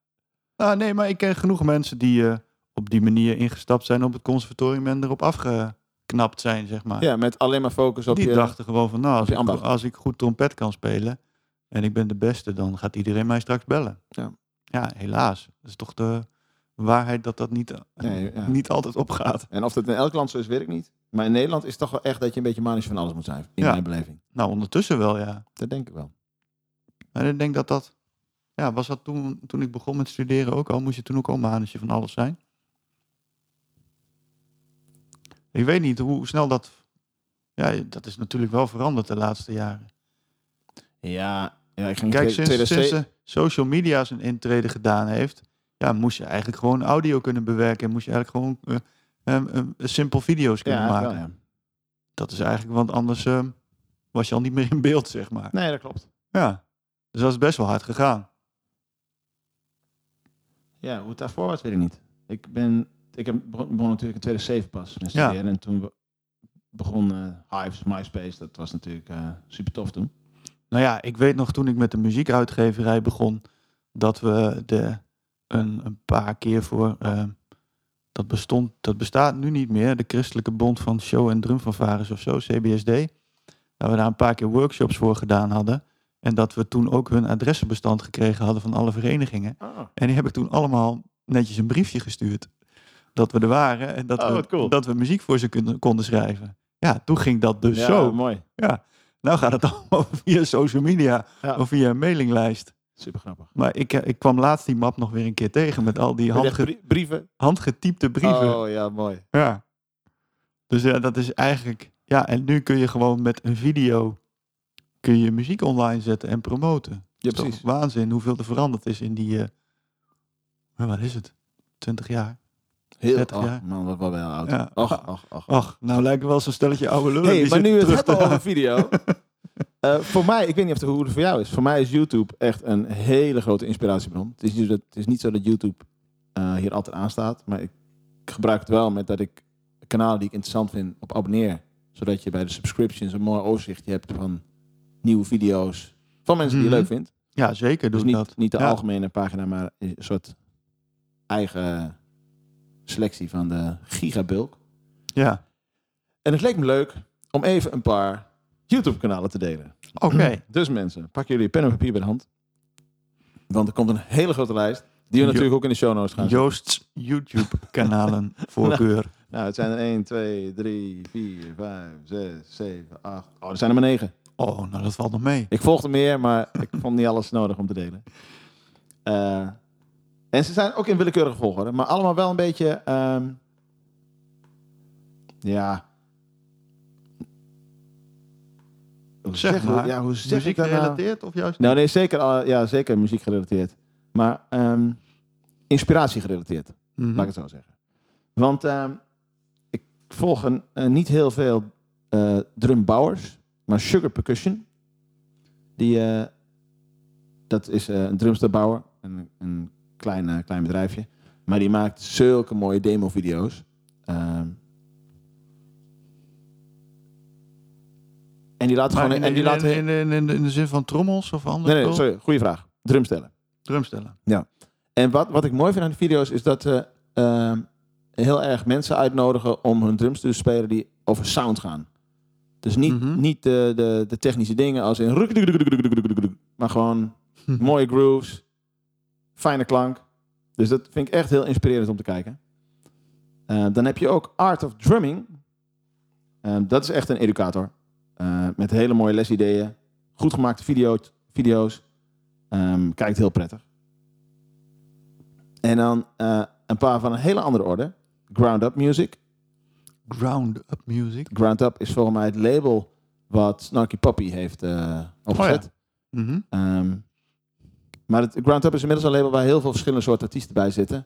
Speaker 3: Nou, nee, maar ik ken genoeg mensen die eh, op die manier ingestapt zijn op het conservatorium en erop afgeknapt zijn, zeg maar.
Speaker 4: Ja, met alleen maar focus op
Speaker 3: die
Speaker 4: je...
Speaker 3: dachten gewoon van, nou, als
Speaker 4: je
Speaker 3: ik,
Speaker 4: ambacht.
Speaker 3: als ik goed trompet kan spelen en ik ben de beste, dan gaat iedereen mij straks bellen.
Speaker 4: Ja.
Speaker 3: Ja, helaas. Dat is toch de waarheid dat dat niet,
Speaker 4: Nee, ja.
Speaker 3: niet altijd opgaat.
Speaker 4: En of dat in elk land zo is, weet ik niet. Maar in Nederland is het toch wel echt dat je een beetje manisch van alles moet zijn. In
Speaker 3: Ja.
Speaker 4: mijn beleving.
Speaker 3: Nou, ondertussen wel, ja.
Speaker 4: Dat denk ik wel.
Speaker 3: Maar ik denk dat dat Ja, was dat toen, toen ik begon met studeren ook al? Moest je toen ook al manetje van alles zijn? Ik weet niet hoe snel dat... Ja, dat is natuurlijk wel veranderd de laatste jaren.
Speaker 4: Ja, ja ik ging
Speaker 3: Kijk,
Speaker 4: twee-
Speaker 3: sinds,
Speaker 4: 2007
Speaker 3: sinds de social media zijn intrede gedaan heeft... Ja, moest je eigenlijk gewoon audio kunnen bewerken. En moest je eigenlijk gewoon eh, ehm, ehm, simpel video's kunnen
Speaker 4: ja,
Speaker 3: maken.
Speaker 4: wel, ja.
Speaker 3: Dat is eigenlijk, want anders ehm, was je al niet meer in beeld, zeg maar.
Speaker 4: Nee, dat klopt.
Speaker 3: Ja, dus dat is best wel hard gegaan.
Speaker 4: Ja, hoe het daarvoor was, weet ik niet. Ik ben, ik heb, begon begon natuurlijk in 2007 pas met
Speaker 3: Ja.
Speaker 4: studeren. En toen be- begon eh, Hives, MySpace. Dat was natuurlijk eh, super tof toen.
Speaker 3: Nou ja, ik weet nog toen ik met de muziekuitgeverij begon, dat we de, een, een paar keer voor, eh, dat, bestond, dat bestaat nu niet meer, de Christelijke Bond van Show en Drumfanfares of zo, CBSD, dat we daar een paar keer workshops voor gedaan hadden. En dat we toen ook hun adressenbestand gekregen hadden van alle verenigingen. En die heb ik toen allemaal netjes een briefje gestuurd. Dat we er waren en dat,
Speaker 4: Oh,
Speaker 3: we,
Speaker 4: wat cool.
Speaker 3: dat we muziek voor ze kun- konden schrijven. Ja, toen ging dat dus
Speaker 4: ja,
Speaker 3: zo.
Speaker 4: mooi.
Speaker 3: Nou gaat het allemaal via social media
Speaker 4: Ja.
Speaker 3: of via een mailinglijst.
Speaker 4: Super grappig.
Speaker 3: Maar ik, eh, ik kwam laatst die map nog weer een keer tegen met al die handge-
Speaker 4: brieven.
Speaker 3: handgetypte brieven.
Speaker 4: Oh ja, mooi.
Speaker 3: Ja. Dus ja, dat is eigenlijk... Ja, en nu kun je gewoon met een video kun je muziek online zetten en promoten.
Speaker 4: Ja,
Speaker 3: Het is
Speaker 4: precies.
Speaker 3: toch waanzin hoeveel er veranderd is in die... eh, maar wat is het? 20 jaar?
Speaker 4: Heel,
Speaker 3: 30 jaar.
Speaker 4: oh, man, wat wat ben je al oud.
Speaker 3: Ja.
Speaker 4: Och, och, och.
Speaker 3: Ach, nou lijken we wel zo'n stelletje oude lullen.
Speaker 4: Hey,
Speaker 3: die
Speaker 4: maar nu
Speaker 3: zitten
Speaker 4: het
Speaker 3: terug
Speaker 4: hebben over
Speaker 3: te-
Speaker 4: video. Eh, voor mij, ik weet niet of het hoe het voor jou is. Voor mij is YouTube echt een hele grote inspiratiebron. Het is niet zo dat, het is niet zo dat YouTube eh, hier altijd aan staat. Maar ik gebruik het wel met dat ik kanalen die ik interessant vind op abonneer. Zodat je bij de subscriptions een mooi overzichtje hebt van nieuwe video's. Van mensen die
Speaker 3: Mhm.
Speaker 4: je leuk vindt.
Speaker 3: Ja, zeker
Speaker 4: Dus
Speaker 3: doen
Speaker 4: niet,
Speaker 3: dat.
Speaker 4: niet de
Speaker 3: Ja.
Speaker 4: algemene pagina, maar een soort eigen selectie van de gigabulk.
Speaker 3: Ja.
Speaker 4: En het leek me leuk om even een paar YouTube-kanalen te delen.
Speaker 3: Oké.
Speaker 4: Dus mensen, pak jullie pen en papier bij de hand. Want er komt een hele grote lijst. Die we
Speaker 3: Jo-
Speaker 4: natuurlijk ook in de show notes gaan. zetten.
Speaker 3: Joost's YouTube-kanalen voorkeur.
Speaker 4: Nou, het zijn er 1, 2, 3, 4, 5, 6, 7, 8. Oh, er zijn er maar 9.
Speaker 3: Oh, nou dat valt nog mee.
Speaker 4: Ik volgde meer, maar ik vond niet alles nodig om te delen. Eh, en ze zijn ook in willekeurige volgorde, maar allemaal wel een beetje. ehm, ja. Hoe
Speaker 3: Zeg
Speaker 4: ik-
Speaker 3: maar,
Speaker 4: Ja, hoe zeg ik
Speaker 3: Muziek
Speaker 4: dat nou?
Speaker 3: gerelateerd of juist?
Speaker 4: Nou, nee, zeker, al- ja, zeker muziek gerelateerd. Maar ehm, inspiratie gerelateerd,
Speaker 3: Mhm.
Speaker 4: laat ik het zo zeggen. Want ehm, ik volg een, een niet heel veel eh, drumbouwers, maar Sugar Percussion. Die, eh, dat is eh, een drumsterbouwer, een, een klein, eh, klein bedrijfje. Maar die maakt zulke mooie demo-video's. Ehm, en die laat
Speaker 3: Maar
Speaker 4: gewoon...
Speaker 3: in,
Speaker 4: en die
Speaker 3: in-
Speaker 4: laat
Speaker 3: in, in, in- in de zin van trommels of andere
Speaker 4: nee, nee,
Speaker 3: kool?
Speaker 4: sorry, goede vraag. Drumstellen.
Speaker 3: drumstellen.
Speaker 4: En wat, wat ik mooi vind aan de video's is dat ze ehm, heel erg mensen uitnodigen om hun drums te spelen die over sound gaan. Dus niet,
Speaker 3: Mhm.
Speaker 4: niet de, de, de technische dingen als in... ruk, duk, duk, duk, duk, duk, duk, duk, Maar gewoon
Speaker 3: Hm.
Speaker 4: mooie grooves, fijne klank. Dus dat vind ik echt heel inspirerend om te kijken. Eh, dan heb je ook Art of Drumming. Eh, dat is echt een educator. Eh, met hele mooie lesideeën. Goed gemaakte video, video's. Ehm, kijkt heel prettig. En dan eh, een paar van een hele andere orde. Ground Up Music.
Speaker 3: Ground-up music.
Speaker 4: Ground Up is volgens mij het label wat Snarky Puppy heeft eh, opgezet.
Speaker 3: Mhm.
Speaker 4: Ehm, maar het Ground Up is inmiddels een label waar heel veel verschillende soorten artiesten bij zitten.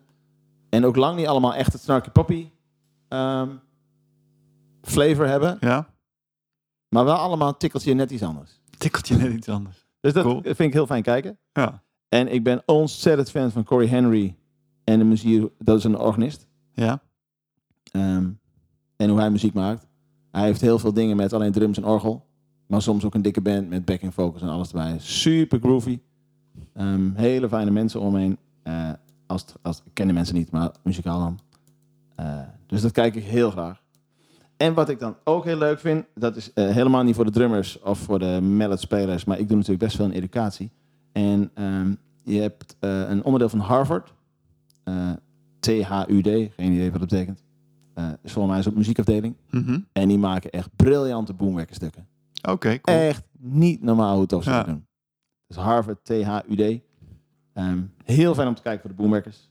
Speaker 4: En ook lang niet allemaal echt het Snarky Puppy ehm, flavor hebben.
Speaker 3: Ja,
Speaker 4: Maar wel allemaal een tikkeltje net iets anders.
Speaker 3: tikkelt je net iets anders.
Speaker 4: Dus dat
Speaker 3: Cool.
Speaker 4: vind ik heel fijn kijken.
Speaker 3: Ja,
Speaker 4: En ik ben ontzettend fan van Corey Henry en de muziek. Dat is een organist.
Speaker 3: ja.
Speaker 4: Ehm, en hoe hij muziek maakt. Hij heeft heel veel dingen met alleen drums en orgel. Maar soms ook een dikke band met backing vocals en alles erbij. Super groovy. Ehm, hele fijne mensen omheen. Eh als, het- als, ik ken de mensen niet, maar muzikaal dan. Eh, dus dat kijk ik heel graag. En wat ik dan ook heel leuk vind, dat is eh, helemaal niet voor de drummers of voor de mallet-spelers, maar ik doe natuurlijk best veel in educatie. En ehm, je hebt eh, een onderdeel van Harvard, Eh, THUD, geen idee wat dat betekent. Eh, is volgens mij een soort muziekafdeling.
Speaker 3: Mhm.
Speaker 4: En die maken echt briljante boomwekkerstukken.
Speaker 3: Oké, cool.
Speaker 4: Eh, Echt niet normaal hoe tof ze
Speaker 3: Ja.
Speaker 4: dat doen. Dus Harvard, THUD. Ehm, heel fijn om te kijken voor de Boomwerkers.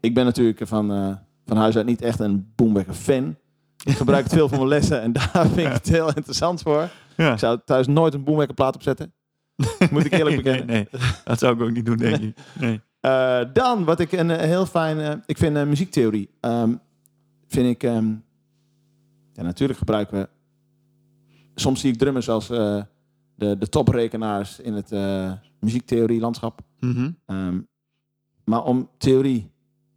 Speaker 4: Ik ben natuurlijk van, eh, van huis uit niet echt een Boomwerker-fan. Ik gebruik het veel voor mijn lessen en daar vind ik het heel interessant voor.
Speaker 3: Ja.
Speaker 4: Ik zou thuis nooit een Boomwerker-plaat opzetten. Moet ik eerlijk bekennen.
Speaker 3: Nee, nee, dat zou ik ook niet doen, denk ik. Nee.
Speaker 4: Eh, dan, wat ik een eh, heel fijn... eh, ik vind eh, muziektheorie... ehm, vind ik... ehm, ja, natuurlijk gebruiken we... Soms zie ik drummers als eh, de, de toprekenaars in het eh, muziektheorie-landschap.
Speaker 3: Mhm.
Speaker 4: Ehm, maar om theorie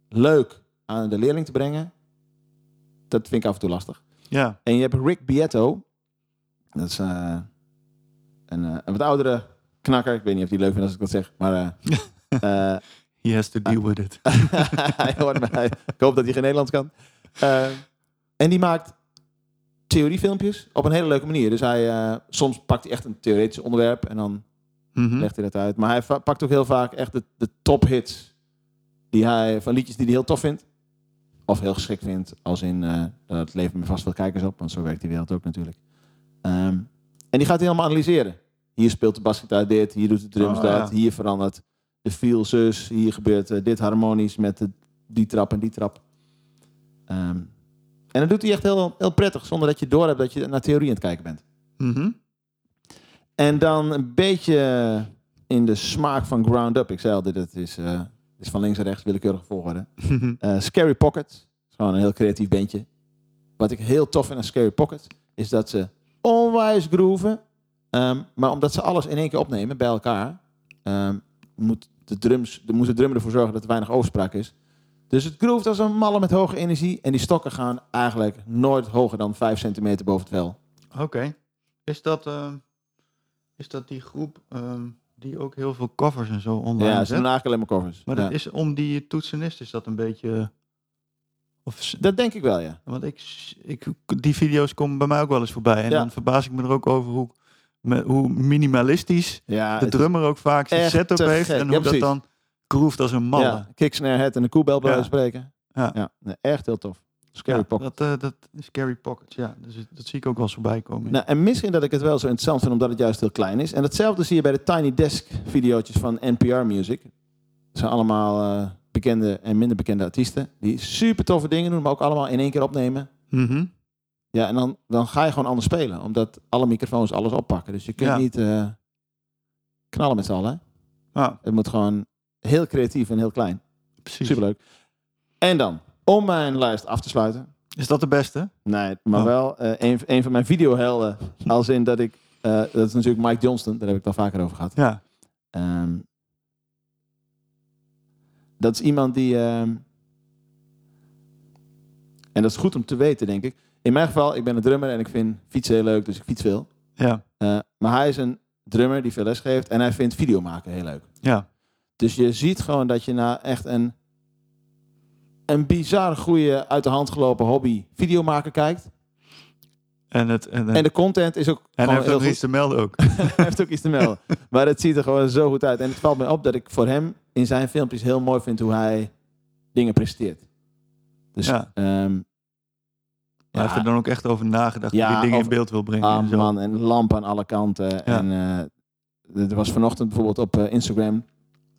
Speaker 4: leuk aan de leerling te brengen... dat vind ik af en toe lastig.
Speaker 3: Ja,
Speaker 4: En je hebt Rick Bietto. Dat is eh, een, eh, een wat oudere knakker. Ik weet niet of die leuk vindt als ik dat zeg. Maar eh, eh,
Speaker 3: he has to deal with it.
Speaker 4: hij hoort mij. Ik hoop dat hij geen Nederlands kan. Eh, en die maakt theoriefilmpjes op een hele leuke manier. Dus hij, eh, soms pakt hij echt een theoretisch onderwerp en dan
Speaker 3: Mhm.
Speaker 4: legt hij dat uit. Maar hij va- pakt ook heel vaak echt de, de tophits die hij, van liedjes die hij heel tof vindt. Of heel geschikt vindt, als in eh, dat levert me vast veel kijkers op, want zo werkt die wereld ook natuurlijk. Ehm, en die gaat hij helemaal analyseren. Hier speelt de basgitaar dit, hier doet de drums
Speaker 3: Oh,
Speaker 4: dat,
Speaker 3: ja.
Speaker 4: hier verandert de feel zus, hier gebeurt eh, dit harmonisch met de, die trap en die trap. Ehm, en dat doet hij echt heel, heel prettig, zonder dat je doorhebt dat je naar theorie aan het kijken bent.
Speaker 3: Mhm.
Speaker 4: En dan een beetje in de smaak van Ground Up. Ik zei al, dit het is, eh, het is van links en rechts willekeurig volgorde. Eh, Scary Pocket. is Gewoon een heel creatief bandje. Wat ik heel tof vind aan Scary Pocket... is dat ze onwijs groeven. ehm, maar omdat ze alles in één keer opnemen bij elkaar... ehm, moet, de drums, de, moet de drummer ervoor zorgen dat er weinig overspraak is. Dus het groeft als een malle met hoge energie. En die stokken gaan eigenlijk nooit hoger dan 5 centimeter boven het vel.
Speaker 3: Oké. Is, dat, ehm, is dat die groep ehm, die ook heel veel covers en zo online
Speaker 4: Ja, ze
Speaker 3: zet?
Speaker 4: doen eigenlijk alleen maar covers.
Speaker 3: Maar
Speaker 4: Ja.
Speaker 3: dat is om die toetsenist is dat een beetje... Of, s-
Speaker 4: dat denk ik wel, ja.
Speaker 3: want ik, s- ik, die video's komen bij mij ook wel eens voorbij. En
Speaker 4: Ja.
Speaker 3: dan verbaas ik me er ook over hoe, me- hoe minimalistisch
Speaker 4: Ja,
Speaker 3: de
Speaker 4: het-
Speaker 3: drummer ook vaak zijn
Speaker 4: echt
Speaker 3: setup
Speaker 4: te
Speaker 3: heeft.
Speaker 4: gek. Ja,
Speaker 3: En hoe dat
Speaker 4: precies.
Speaker 3: dan groeft als een malle.
Speaker 4: ja, kicksnare het en de koebel bij
Speaker 3: Ja.
Speaker 4: wijze van spreken.
Speaker 3: Ja.
Speaker 4: nee, echt heel tof. Scary
Speaker 3: Ja,
Speaker 4: Pocket.
Speaker 3: Dat, eh, dat is Scary Pockets, ja. Dus het- dat zie ik ook wel eens voorbij komen.
Speaker 4: Nou, en misschien dat ik het wel zo interessant vind omdat het juist heel klein is. En hetzelfde zie je bij de Tiny Desk videootjes van NPR Music. Dat zijn allemaal eh, bekende en minder bekende artiesten. Die super toffe dingen doen, maar ook allemaal in één keer opnemen.
Speaker 3: Mhm.
Speaker 4: Ja, en dan, dan ga je gewoon anders spelen. Omdat alle microfoons alles oppakken. Dus je kunt
Speaker 3: Ja.
Speaker 4: niet eh, knallen met z'n allen. hè.
Speaker 3: Ja,
Speaker 4: Het moet gewoon heel creatief en heel klein.
Speaker 3: precies.
Speaker 4: Superleuk. En dan, om mijn lijst af te sluiten.
Speaker 3: Is dat de beste?
Speaker 4: Nee, maar
Speaker 3: Oh.
Speaker 4: wel eh, een, een van mijn videohelden. Als in dat ik... eh, dat is natuurlijk Mike Johnston. Daar heb ik het al vaker over gehad.
Speaker 3: Ja.
Speaker 4: Ehm, dat is iemand die... ehm, en dat is goed om te weten, denk ik. In mijn geval, ik ben een drummer en ik vind fietsen heel leuk. Dus ik fiets veel.
Speaker 3: Ja.
Speaker 4: Eh, maar hij is een drummer die veel les geeft. En hij vindt video maken heel leuk.
Speaker 3: Ja.
Speaker 4: Dus je ziet gewoon dat je na echt een, een bizar goede, uit de hand gelopen hobby videomaker kijkt.
Speaker 3: En, het, en,
Speaker 4: En de content is ook
Speaker 3: en hij
Speaker 4: gewoon
Speaker 3: heeft
Speaker 4: heel
Speaker 3: ook
Speaker 4: goed.
Speaker 3: iets te melden ook.
Speaker 4: Hij heeft ook iets te melden. Maar het ziet er gewoon zo goed uit. En het valt mij op dat ik voor hem in zijn filmpjes heel mooi vind hoe hij dingen presteert. Dus,
Speaker 3: Ja.
Speaker 4: ehm,
Speaker 3: Hij heeft
Speaker 4: ja,
Speaker 3: er dan ook echt over nagedacht hoe
Speaker 4: Ja,
Speaker 3: hij dingen in
Speaker 4: over-
Speaker 3: beeld wil brengen. en
Speaker 4: ah,
Speaker 3: zo.
Speaker 4: man, en lampen aan alle kanten. En eh, er was vanochtend bijvoorbeeld op eh, Instagram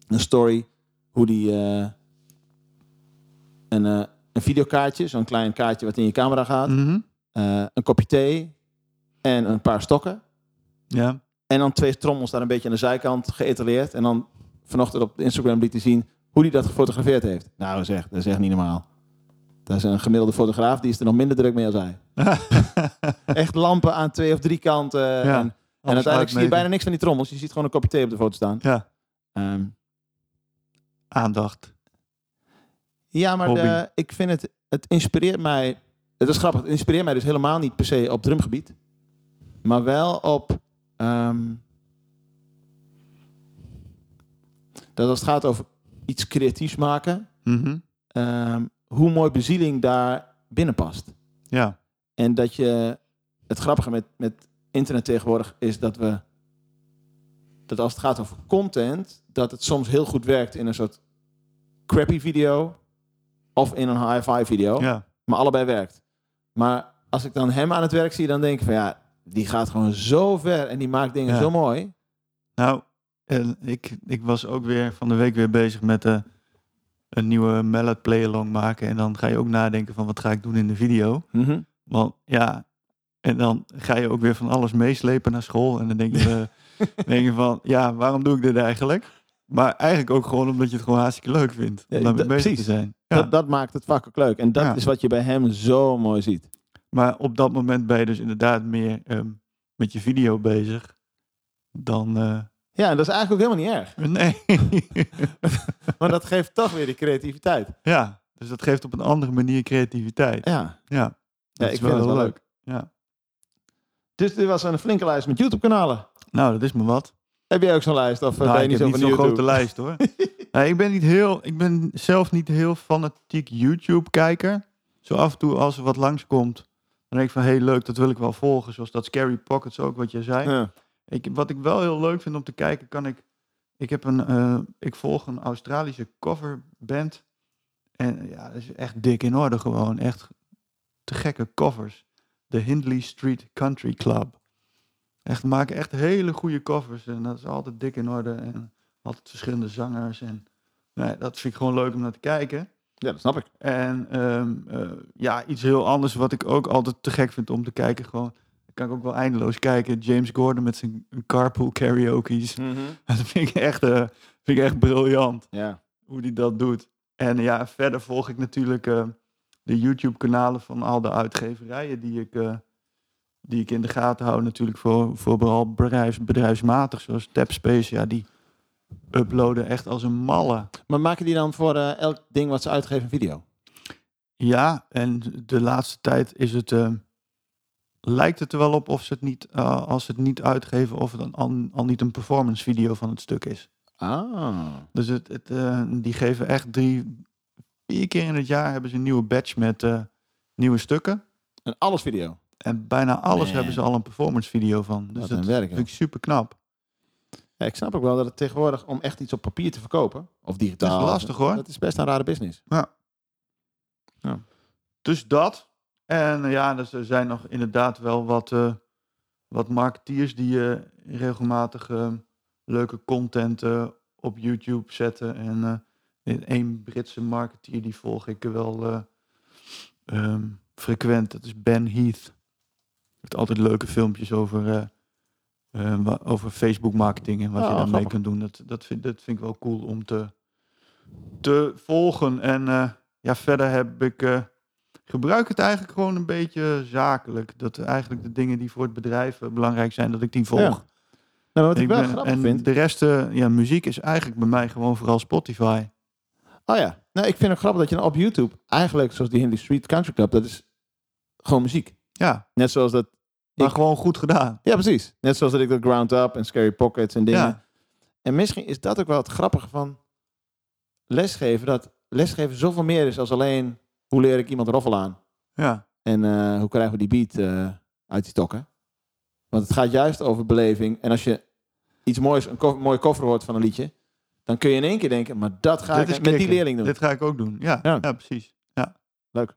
Speaker 4: een story hoe die eh, een, eh, een videokaartje, zo'n klein kaartje wat in je camera gaat,
Speaker 3: Mhm.
Speaker 4: eh, een kopje thee en een paar stokken.
Speaker 3: Ja.
Speaker 4: En dan twee trommels daar een beetje aan de zijkant geëtaleerd. En dan vanochtend op Instagram liet hij zien hoe hij dat gefotografeerd heeft. Nou zeg, dat is echt niet normaal. Dat is een gemiddelde fotograaf, die is er nog minder druk mee als hij. echt lampen aan twee of drie kanten. en, en uiteindelijk zie je bijna niks van die trommels. Je ziet gewoon een kopje thee op de foto staan.
Speaker 3: Ja.
Speaker 4: Ehm,
Speaker 3: Aandacht.
Speaker 4: ja, maar
Speaker 3: Hobby.
Speaker 4: de- ik vind het, het inspireert mij... Het is grappig, het inspireert mij dus helemaal niet per se op drumgebied. Maar wel op... ehm, dat als het gaat over iets creatiefs maken...
Speaker 3: Mhm.
Speaker 4: ehm, hoe mooi bezieling daar binnen past.
Speaker 3: Ja.
Speaker 4: En dat je... Het grappige met, met internet tegenwoordig is dat we... Dat als het gaat over content... Dat het soms heel goed werkt in een soort crappy video... Of in een hi-fi video.
Speaker 3: Ja.
Speaker 4: Maar allebei werkt. Maar als ik dan hem aan het werk zie... Dan denk ik van ja... Die gaat gewoon zo ver en die maakt dingen
Speaker 3: Ja.
Speaker 4: zo mooi.
Speaker 3: Nou, En ik, ik was ook weer van de week weer bezig met eh, een nieuwe mallet playalong maken. En dan ga je ook nadenken van wat ga ik doen in de video.
Speaker 4: Mhm.
Speaker 3: Want ja, en dan ga je ook weer van alles meeslepen naar school. En dan denk je, eh, denk je van, ja, waarom doe ik dit eigenlijk? Maar eigenlijk ook gewoon omdat je het gewoon hartstikke leuk vindt.
Speaker 4: Ja,
Speaker 3: Om daarmee
Speaker 4: dat-
Speaker 3: bezig
Speaker 4: precies.
Speaker 3: te zijn. Ja.
Speaker 4: Dat, dat maakt het vak ook leuk. En dat
Speaker 3: Ja.
Speaker 4: is wat je bij hem zo mooi ziet.
Speaker 3: Maar op dat moment ben je dus inderdaad meer ehm, met je video bezig dan... eh,
Speaker 4: Ja, en dat is eigenlijk ook helemaal niet erg.
Speaker 3: nee.
Speaker 4: Maar dat geeft toch weer die creativiteit.
Speaker 3: ja, dus dat geeft op een andere manier creativiteit.
Speaker 4: Ja,
Speaker 3: Ja, dat
Speaker 4: ja
Speaker 3: is
Speaker 4: ik vind het wel leuk.
Speaker 3: Ja.
Speaker 4: Dus dit was een flinke lijst met YouTube-kanalen.
Speaker 3: Nou, dat is me wat.
Speaker 4: Heb jij ook zo'n lijst? Of eh, ben
Speaker 3: Nou,
Speaker 4: je
Speaker 3: ik
Speaker 4: niet
Speaker 3: heb
Speaker 4: zo
Speaker 3: niet
Speaker 4: van
Speaker 3: zo'n
Speaker 4: YouTube?
Speaker 3: grote lijst hoor. Nee, ik, ben niet heel, ik ben zelf niet heel fanatiek YouTube-kijker. Zo af en toe als er wat langskomt, dan denk ik van... hé, hey, leuk, dat wil ik wel volgen. Zoals dat Scary Pockets ook, wat jij zei.
Speaker 4: Ja.
Speaker 3: Ik, wat ik wel heel leuk vind om te kijken, kan ik. Ik, heb een, eh, ik volg een Australische coverband. En ja, dat is echt dik in orde gewoon. Echt te gekke covers. De Hindley Street Country Club. Echt die maken echt hele goede covers. En dat is altijd dik in orde. En altijd verschillende zangers. En nee, dat vind ik gewoon leuk om naar te kijken.
Speaker 4: ja, dat snap ik.
Speaker 3: En ehm, eh, ja, iets heel anders wat ik ook altijd te gek vind om te kijken. Gewoon, daar kan ik ook wel eindeloos kijken. James Gordon met zijn carpool karaoke's.
Speaker 4: Hm.
Speaker 3: Dat vind ik echt, eh, vind ik echt briljant
Speaker 4: Ja.
Speaker 3: hoe hij dat doet. En ja, verder volg ik natuurlijk eh, de YouTube-kanalen van al de uitgeverijen die ik, eh, die ik in de gaten hou. Natuurlijk voor, voor vooral bedrijfs, bedrijfsmatig, zoals Tapspace. Ja, die uploaden echt als een malle.
Speaker 4: Maar maken die dan voor eh, elk ding wat ze uitgeven een video?
Speaker 3: Ja, en de laatste tijd is het, eh, lijkt het er wel op of ze het niet, eh, als ze het niet uitgeven, of het dan al, al niet een performance video van het stuk is.
Speaker 4: Ah.
Speaker 3: Dus het, het, eh, die geven echt drie, vier keer in het jaar hebben ze een nieuwe batch met eh, nieuwe stukken.
Speaker 4: Een alles video.
Speaker 3: En bijna alles
Speaker 4: Man.
Speaker 3: hebben ze al een performance video van. Dus
Speaker 4: Wat
Speaker 3: dat
Speaker 4: een werk, joh.
Speaker 3: vind ik super knap.
Speaker 4: Ja, ik snap ook wel dat het tegenwoordig om echt iets op papier te verkopen, of digitaal.
Speaker 3: Dat is lastig, hoor.
Speaker 4: Dat is best een rare business.
Speaker 3: Dus dat. En eh, ja, dus er zijn nog inderdaad wel wat, eh, wat marketeers die eh, regelmatig eh, leuke content eh, op YouTube zetten. En eh, in één Britse marketeer die volg ik wel eh, ehm, frequent. Dat is Ben Heath. Heeft altijd leuke filmpjes over, eh, eh, wa- over Facebook marketing en wat
Speaker 4: Ah,
Speaker 3: je daarmee
Speaker 4: grappig.
Speaker 3: kunt doen. Dat, dat, vind, dat vind ik wel cool om te, te volgen. En eh, ja, verder heb ik. eh, gebruik het eigenlijk gewoon een beetje zakelijk. Dat eigenlijk de dingen die voor het bedrijf eh, belangrijk zijn, dat ik die volg.
Speaker 4: Ja, Nou, maar wat ik, wel
Speaker 3: ben-
Speaker 4: grappig
Speaker 3: en
Speaker 4: vind.
Speaker 3: de rest, eh, ja, muziek is eigenlijk bij mij gewoon vooral Spotify.
Speaker 4: Oh ja. Nou, ik vind het grappig dat je dan op YouTube eigenlijk, zoals die Hindi Street Country Club, dat is gewoon muziek.
Speaker 3: Ja,
Speaker 4: Net zoals dat.
Speaker 3: maar
Speaker 4: Ik-
Speaker 3: gewoon goed gedaan.
Speaker 4: Ja, precies. Net zoals dat ik dat Ground Up en Scary Pockets en dingen.
Speaker 3: Ja,
Speaker 4: En misschien is dat ook wel het grappige van lesgeven. Dat lesgeven zoveel meer is als alleen hoe leer ik iemand roffel aan.
Speaker 3: ja,
Speaker 4: En eh, hoe krijgen we die beat eh, uit die tokken? Want het gaat juist over beleving. En als je iets moois, een co- mooie cover hoort van een liedje, dan kun je in één keer denken, maar dat ga ik
Speaker 3: Dit is
Speaker 4: met die
Speaker 3: knikken.
Speaker 4: leerling doen.
Speaker 3: dit ga ik ook doen. Ja,
Speaker 4: Ja.
Speaker 3: ja. precies. Ja.
Speaker 4: Leuk.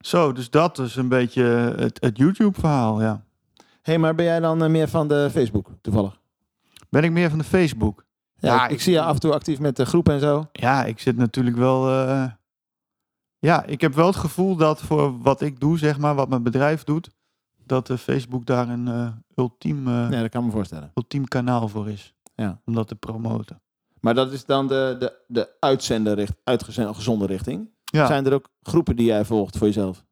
Speaker 3: Zo, dus dat is een beetje het, het YouTube-verhaal, ja.
Speaker 4: Hé, hey, maar ben jij dan eh, meer van de Facebook toevallig?
Speaker 3: Ben ik meer van de Facebook?
Speaker 4: Ja,
Speaker 3: Ja,
Speaker 4: ik,
Speaker 3: ik-
Speaker 4: zie je af en toe actief met de groep en zo.
Speaker 3: Ja, ik zit natuurlijk wel. eh, ja, ik heb wel het gevoel dat voor wat ik doe, zeg maar, wat mijn bedrijf doet, dat eh, Facebook daar een eh, ultiem, eh,
Speaker 4: Nee, dat kan ik me voorstellen.
Speaker 3: ultiem kanaal voor is.
Speaker 4: Ja.
Speaker 3: Om dat te promoten.
Speaker 4: Maar dat is dan de, de, de uitzender richt, uitgezonde richting.
Speaker 3: Ja,
Speaker 4: Zijn er ook groepen die jij volgt voor jezelf?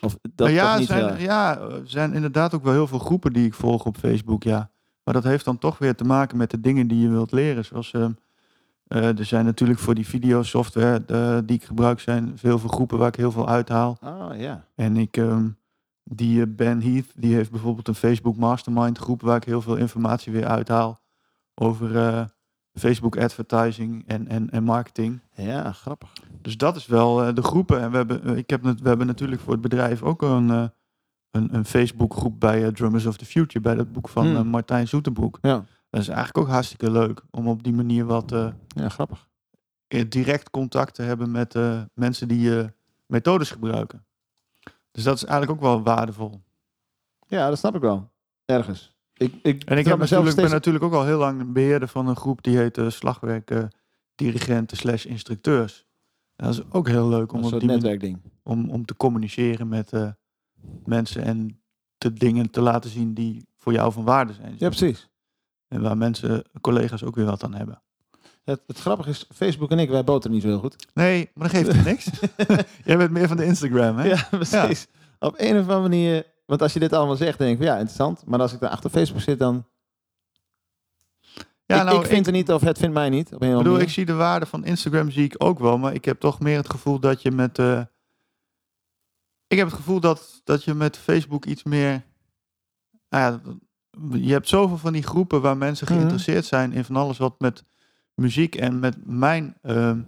Speaker 4: Of dat
Speaker 3: Nou ja,
Speaker 4: toch niet eh, heel
Speaker 3: zijn,
Speaker 4: erg?
Speaker 3: ja, er zijn inderdaad ook wel heel veel groepen die ik volg op Facebook, ja. Maar dat heeft dan toch weer te maken met de dingen die je wilt leren. Zoals, ehm, eh, er zijn natuurlijk voor die videosoftware eh, die ik gebruik, zijn veel veel groepen waar ik heel veel uithaal.
Speaker 4: Oh ja.
Speaker 3: En ik, ehm, die eh, Ben Heath, die heeft bijvoorbeeld een Facebook Mastermind groep waar ik heel veel informatie weer uithaal over eh, Facebook advertising en, en, en marketing.
Speaker 4: Ja, grappig.
Speaker 3: Dus dat is wel eh, de groepen. En we hebben, eh, ik heb, net- we hebben natuurlijk voor het bedrijf ook een, eh, een, een Facebook groep bij eh, Drummers of the Future, bij dat boek van
Speaker 4: Hmm.
Speaker 3: eh, Martijn Zoetenbroek.
Speaker 4: Ja.
Speaker 3: Dat is eigenlijk ook hartstikke leuk om op die manier wat eh,
Speaker 4: Ja, grappig.
Speaker 3: eh, direct contact te hebben met eh, mensen die eh, methodes gebruiken. Dus dat is eigenlijk ook wel waardevol.
Speaker 4: Ja, dat snap ik wel. Ergens. Ik, ik,
Speaker 3: En ik
Speaker 4: trap
Speaker 3: heb
Speaker 4: mezelf
Speaker 3: natuurlijk, ben
Speaker 4: steeds...
Speaker 3: natuurlijk ook al heel lang beheerder van een groep die heet eh, slagwerk slagwerkdirigenten slash instructeurs. Dat is ook heel leuk om,
Speaker 4: een
Speaker 3: op
Speaker 4: soort
Speaker 3: die manier-
Speaker 4: netwerkding.
Speaker 3: om, om te communiceren met eh, mensen en de dingen te laten zien die voor jou van waarde zijn.
Speaker 4: Ja, precies.
Speaker 3: En waar mensen, collega's ook weer wat aan hebben.
Speaker 4: Het, het grappige is, Facebook en ik, wij boten niet zo heel goed.
Speaker 3: Nee, maar dat geeft niks. Jij bent meer van de Instagram, hè?
Speaker 4: Ja, precies. Op een of andere manier, want als je dit allemaal zegt, denk ik, van, ja, interessant. Maar als ik daar achter Facebook zit, dan...
Speaker 3: Ja,
Speaker 4: ik,
Speaker 3: nou,
Speaker 4: ik vind het niet of het vindt mij niet. Op een of
Speaker 3: Ik
Speaker 4: andere
Speaker 3: bedoel, ik
Speaker 4: manier.
Speaker 3: zie de waarde van Instagram zie ik ook wel, maar ik heb toch meer het gevoel dat je met. eh, ik heb het gevoel dat, dat je met Facebook iets meer. Nou ja, dat- je hebt zoveel van die groepen waar mensen
Speaker 4: Mhm.
Speaker 3: geïnteresseerd zijn in van alles wat met muziek en met mijn ehm,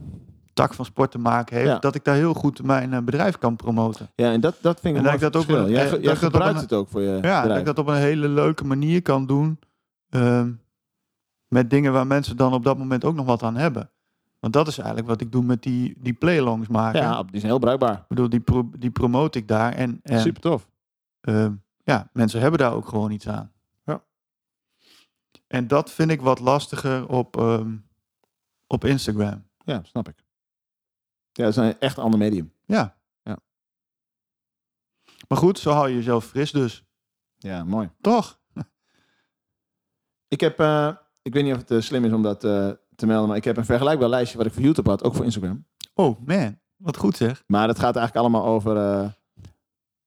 Speaker 3: tak van sport te maken heeft,
Speaker 4: Ja.
Speaker 3: dat ik daar heel goed mijn eh, bedrijf kan promoten.
Speaker 4: Ja, en dat, dat vind ik
Speaker 3: En
Speaker 4: een
Speaker 3: dat
Speaker 4: mooi
Speaker 3: ik dat ook
Speaker 4: verschil.
Speaker 3: wel-
Speaker 4: Jij,
Speaker 3: eh,
Speaker 4: ge-
Speaker 3: dat
Speaker 4: jij
Speaker 3: ik dat
Speaker 4: gebruikt
Speaker 3: ook-
Speaker 4: het ook voor je
Speaker 3: Ja, dat
Speaker 4: bedrijf.
Speaker 3: ik dat op een hele leuke manier kan doen. ehm, met dingen waar mensen dan op dat moment ook nog wat aan hebben. Want dat is eigenlijk wat ik doe met die, die playalongs maken.
Speaker 4: ja, die zijn heel bruikbaar.
Speaker 3: Ik bedoel, die, pro- die promote ik daar. En, en
Speaker 4: Super tof.
Speaker 3: ehm, ja, mensen hebben daar ook gewoon iets aan.
Speaker 4: Ja.
Speaker 3: En dat vind ik wat lastiger op, ehm, op Instagram.
Speaker 4: Ja, snap ik. Ja, dat is een echt ander medium.
Speaker 3: Ja.
Speaker 4: Ja.
Speaker 3: Maar goed, zo hou je jezelf fris dus.
Speaker 4: Ja, mooi.
Speaker 3: Toch?
Speaker 4: Ik heb, eh, ik weet niet of het eh, slim is om dat eh, te melden, maar ik heb een vergelijkbaar lijstje wat ik voor YouTube had, ook voor Instagram.
Speaker 3: Oh man, wat goed zeg.
Speaker 4: Maar dat gaat eigenlijk allemaal over, eh,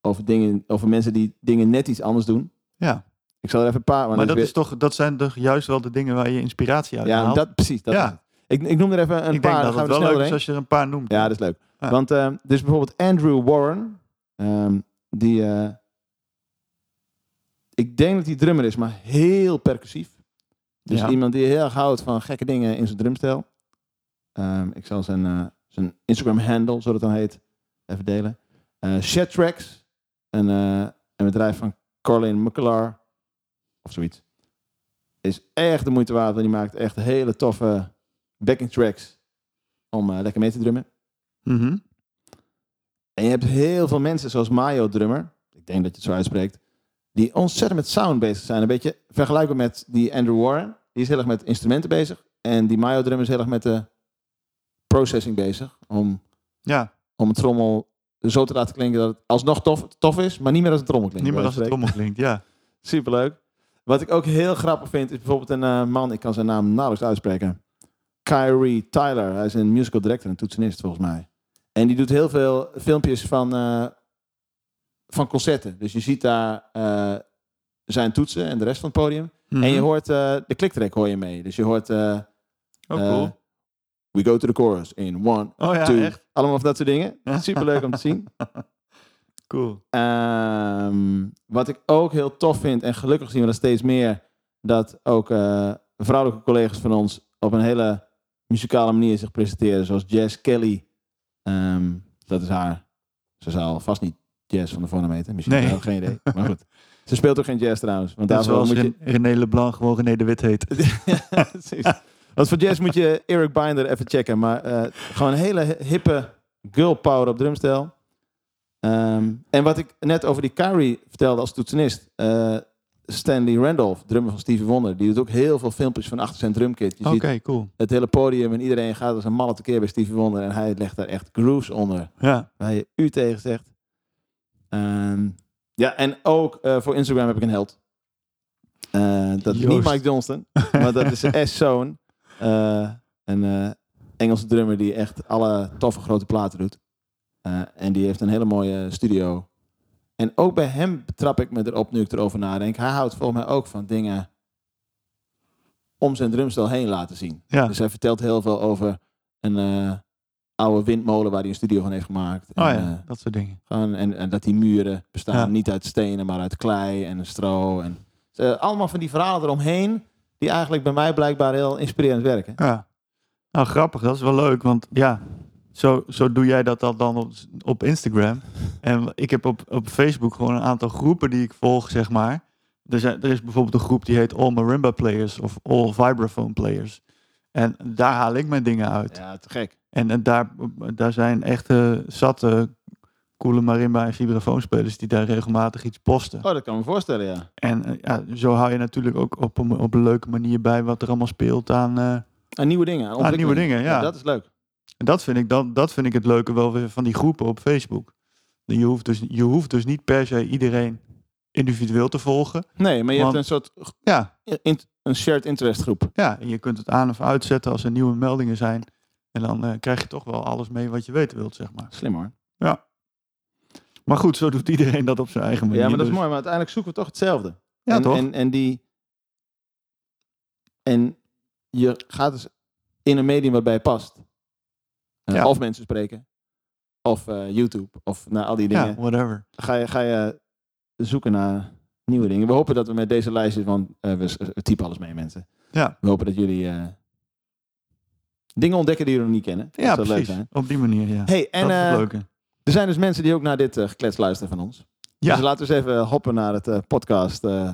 Speaker 4: over, dingen, over mensen die dingen net iets anders doen.
Speaker 3: Ja.
Speaker 4: Ik zal er even een paar. want
Speaker 3: Maar
Speaker 4: ik
Speaker 3: dat,
Speaker 4: weet-
Speaker 3: is toch, dat zijn toch juist wel de dingen waar je inspiratie uit
Speaker 4: ja,
Speaker 3: haalt.
Speaker 4: dat precies. Dat
Speaker 3: Ja.
Speaker 4: is het. ik, ik noem er even een
Speaker 3: ik
Speaker 4: paar.
Speaker 3: denk dat
Speaker 4: dan gaan
Speaker 3: het
Speaker 4: we er
Speaker 3: wel
Speaker 4: snel
Speaker 3: leuk is
Speaker 4: doorheen.
Speaker 3: als je er een paar noemt.
Speaker 4: Ja, dat is leuk.
Speaker 3: Ja.
Speaker 4: Want eh, dus bijvoorbeeld Andrew Warren, ehm, die, eh, ik denk dat hij drummer is, maar heel percussief. Dus
Speaker 3: Ja.
Speaker 4: iemand die heel erg houdt van gekke dingen in zijn drumstijl. Ehm, ik zal zijn, eh, zijn Instagram-handle, zoals het dan heet, even delen. Eh Shed Tracks, een, eh, een bedrijf van Carlin McCullar, of zoiets. Is echt de moeite waard, want die maakt echt hele toffe backing tracks om eh, lekker mee te drummen.
Speaker 3: Mhm.
Speaker 4: En je hebt heel veel mensen zoals Mayo Drummer, ik denk dat je het zo uitspreekt, die ontzettend met sound bezig zijn. Een beetje vergelijkbaar met die Andrew Warren, die is heel erg met instrumenten bezig. En die Mayo Drummer is heel erg met de processing bezig, om,
Speaker 3: ja
Speaker 4: om een trommel zo te laten klinken dat het alsnog tof, tof is, maar niet meer als een trommel klinkt.
Speaker 3: niet meer als het
Speaker 4: Bij wijze
Speaker 3: trommel klinkt. Ja.
Speaker 4: van spreken. Superleuk. Wat ik ook heel grappig vind, is bijvoorbeeld een eh, man, ik kan zijn naam nauwelijks uitspreken. Kyrie Tyler, hij is een musical director en toetsenist volgens mij. En die doet heel veel filmpjes van, eh, van concerten. Dus je ziet daar eh, zijn toetsen en de rest van het podium.
Speaker 3: Mhm.
Speaker 4: En je hoort eh, de kliktrack hoor je mee. Dus je hoort eh,
Speaker 3: Oh,
Speaker 4: eh,
Speaker 3: cool.
Speaker 4: We Go to the Chorus in one,
Speaker 3: oh ja,
Speaker 4: two.
Speaker 3: echt
Speaker 4: Allemaal van dat soort dingen. Superleuk om te zien.
Speaker 3: cool.
Speaker 4: Ehm, wat ik ook heel tof vind, en gelukkig zien we dat steeds meer, dat ook eh, vrouwelijke collega's van ons op een hele muzikale manier zich presenteren. Zoals Jazz Kelly. Ehm, dat is haar. Ze zal vast niet jazz van de vorm heten. Misschien
Speaker 3: Nee.
Speaker 4: wel, geen idee. Maar goed. Ze speelt ook geen jazz trouwens. Want
Speaker 3: Net
Speaker 4: daarvoor
Speaker 3: zoals
Speaker 4: moet je...
Speaker 3: Ren- René Leblanc gewoon René de Wit heet.
Speaker 4: Ja, precies. Want voor jazz moet je Eric Binder even checken. Maar eh, gewoon een hele hippe girl power op drumstijl. Ehm, en wat ik net over die Kyrie vertelde als toetsenist. eh, Stanley Randolph, drummer van Stevie Wonder. Die doet ook heel veel filmpjes van achter zijn drumkit. Je
Speaker 3: Oké,
Speaker 4: ziet
Speaker 3: cool.
Speaker 4: het hele podium en iedereen gaat als een malle tekeer bij Stevie Wonder. En hij legt daar echt grooves onder
Speaker 3: Ja.
Speaker 4: waar je u tegen zegt. Ehm, ja, en ook eh, voor Instagram heb ik een held. Eh, dat is niet
Speaker 3: Joost.
Speaker 4: Mike Johnston, maar dat is S-Zone. Eh, een eh, Engelse drummer die echt alle toffe grote platen doet. Eh, en die heeft een hele mooie studio. En ook bij hem trap ik me erop nu ik erover nadenk. Hij houdt volgens mij ook van dingen om zijn drumstel heen laten zien.
Speaker 3: ja.
Speaker 4: Dus hij vertelt heel veel over een eh, oude windmolen waar hij een studio van heeft gemaakt.
Speaker 3: Oh
Speaker 4: en,
Speaker 3: ja,
Speaker 4: eh,
Speaker 3: dat soort dingen.
Speaker 4: gewoon- en, en dat die muren bestaan
Speaker 3: Ja.
Speaker 4: niet uit stenen, maar uit klei en stro. En, Dus, eh, allemaal van die verhalen eromheen, die eigenlijk bij mij blijkbaar heel inspirerend werken.
Speaker 3: Ja. Nou, grappig. Dat is wel leuk. Want ja, zo, zo doe jij dat dan dan op, op Instagram. En ik heb op, op Facebook gewoon een aantal groepen die ik volg, zeg maar. Er, zijn, er is bijvoorbeeld een groep die heet All Marimba Players of All Vibraphone Players. En daar haal ik mijn dingen uit.
Speaker 4: Ja, te gek.
Speaker 3: En, en daar, daar zijn echt eh, zatte coole marimba en vibrafoonspelers die daar regelmatig iets posten.
Speaker 4: Oh, dat kan ik me voorstellen, ja.
Speaker 3: En eh, ja, zo hou je natuurlijk ook op een, op een leuke manier bij wat er allemaal speelt aan... eh,
Speaker 4: Aan nieuwe dingen. Aan
Speaker 3: nieuwe
Speaker 4: ontwikkeling.
Speaker 3: dingen, ja.
Speaker 4: Dat is leuk.
Speaker 3: En dat vind ik, dat, dat vind ik het leuke wel weer van die groepen op Facebook. Je hoeft, dus, je hoeft dus niet per se iedereen individueel te volgen.
Speaker 4: Nee, maar je
Speaker 3: Want-
Speaker 4: hebt een soort
Speaker 3: Ja,
Speaker 4: in- een shared interest groep.
Speaker 3: ja, en je kunt het aan of uitzetten als er nieuwe meldingen zijn. En dan eh, krijg je toch wel alles mee wat je weten wilt, zeg maar.
Speaker 4: Slim hoor.
Speaker 3: Maar goed, zo doet iedereen dat op zijn eigen manier.
Speaker 4: Ja, maar dat is
Speaker 3: dus-
Speaker 4: mooi. Maar uiteindelijk zoeken we toch hetzelfde.
Speaker 3: Ja,
Speaker 4: en,
Speaker 3: toch?
Speaker 4: En, en die... En je gaat dus in een medium waarbij je past. Eh,
Speaker 3: Ja.
Speaker 4: Of mensen spreken. Of eh, YouTube. Of nou, al die dingen.
Speaker 3: ja, whatever.
Speaker 4: Ga, je, ga je zoeken naar nieuwe dingen. We hopen dat we met deze lijst... Want eh, we s- we typen alles mee, mensen.
Speaker 3: Ja.
Speaker 4: We hopen dat jullie... eh, dingen ontdekken die jullie nog niet kennen. Dat
Speaker 3: Ja,
Speaker 4: zou
Speaker 3: precies.
Speaker 4: leuk zijn.
Speaker 3: Op die manier, ja.
Speaker 4: Hey, en
Speaker 3: dat is het
Speaker 4: eh,
Speaker 3: leuke.
Speaker 4: er zijn dus mensen die ook naar dit eh, geklets luisteren van ons.
Speaker 3: Ja.
Speaker 4: Dus laten we eens even hoppen naar het eh, podcast eh,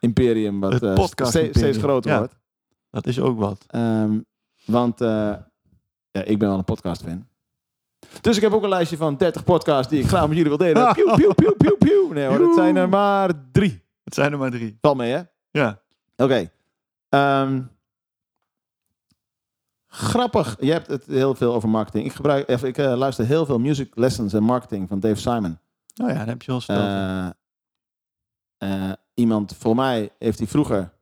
Speaker 4: imperium, wat
Speaker 3: Het
Speaker 4: eh,
Speaker 3: podcast
Speaker 4: ste- steeds
Speaker 3: imperium,
Speaker 4: groter
Speaker 3: ja.
Speaker 4: wordt.
Speaker 3: Dat is ook wat.
Speaker 4: Ehm, want eh, ja, ik ben wel een podcast fan. Dus ik heb ook een lijstje van 30 podcasts die ik graag met jullie wil delen. Piu, piu, piu, piu, piu. Nee hoor, dat zijn er maar drie.
Speaker 3: Het zijn er maar drie.
Speaker 4: Val mee, hè?
Speaker 3: Ja.
Speaker 4: Oké. Ehm, grappig. Je hebt het heel veel over marketing. Ik, gebruik, of ik eh, luister heel veel music lessons en marketing van Dave Simon.
Speaker 3: Nou ja, dat heb je wel verteld.
Speaker 4: Eh, eh, iemand, voor mij, heeft hij vroeger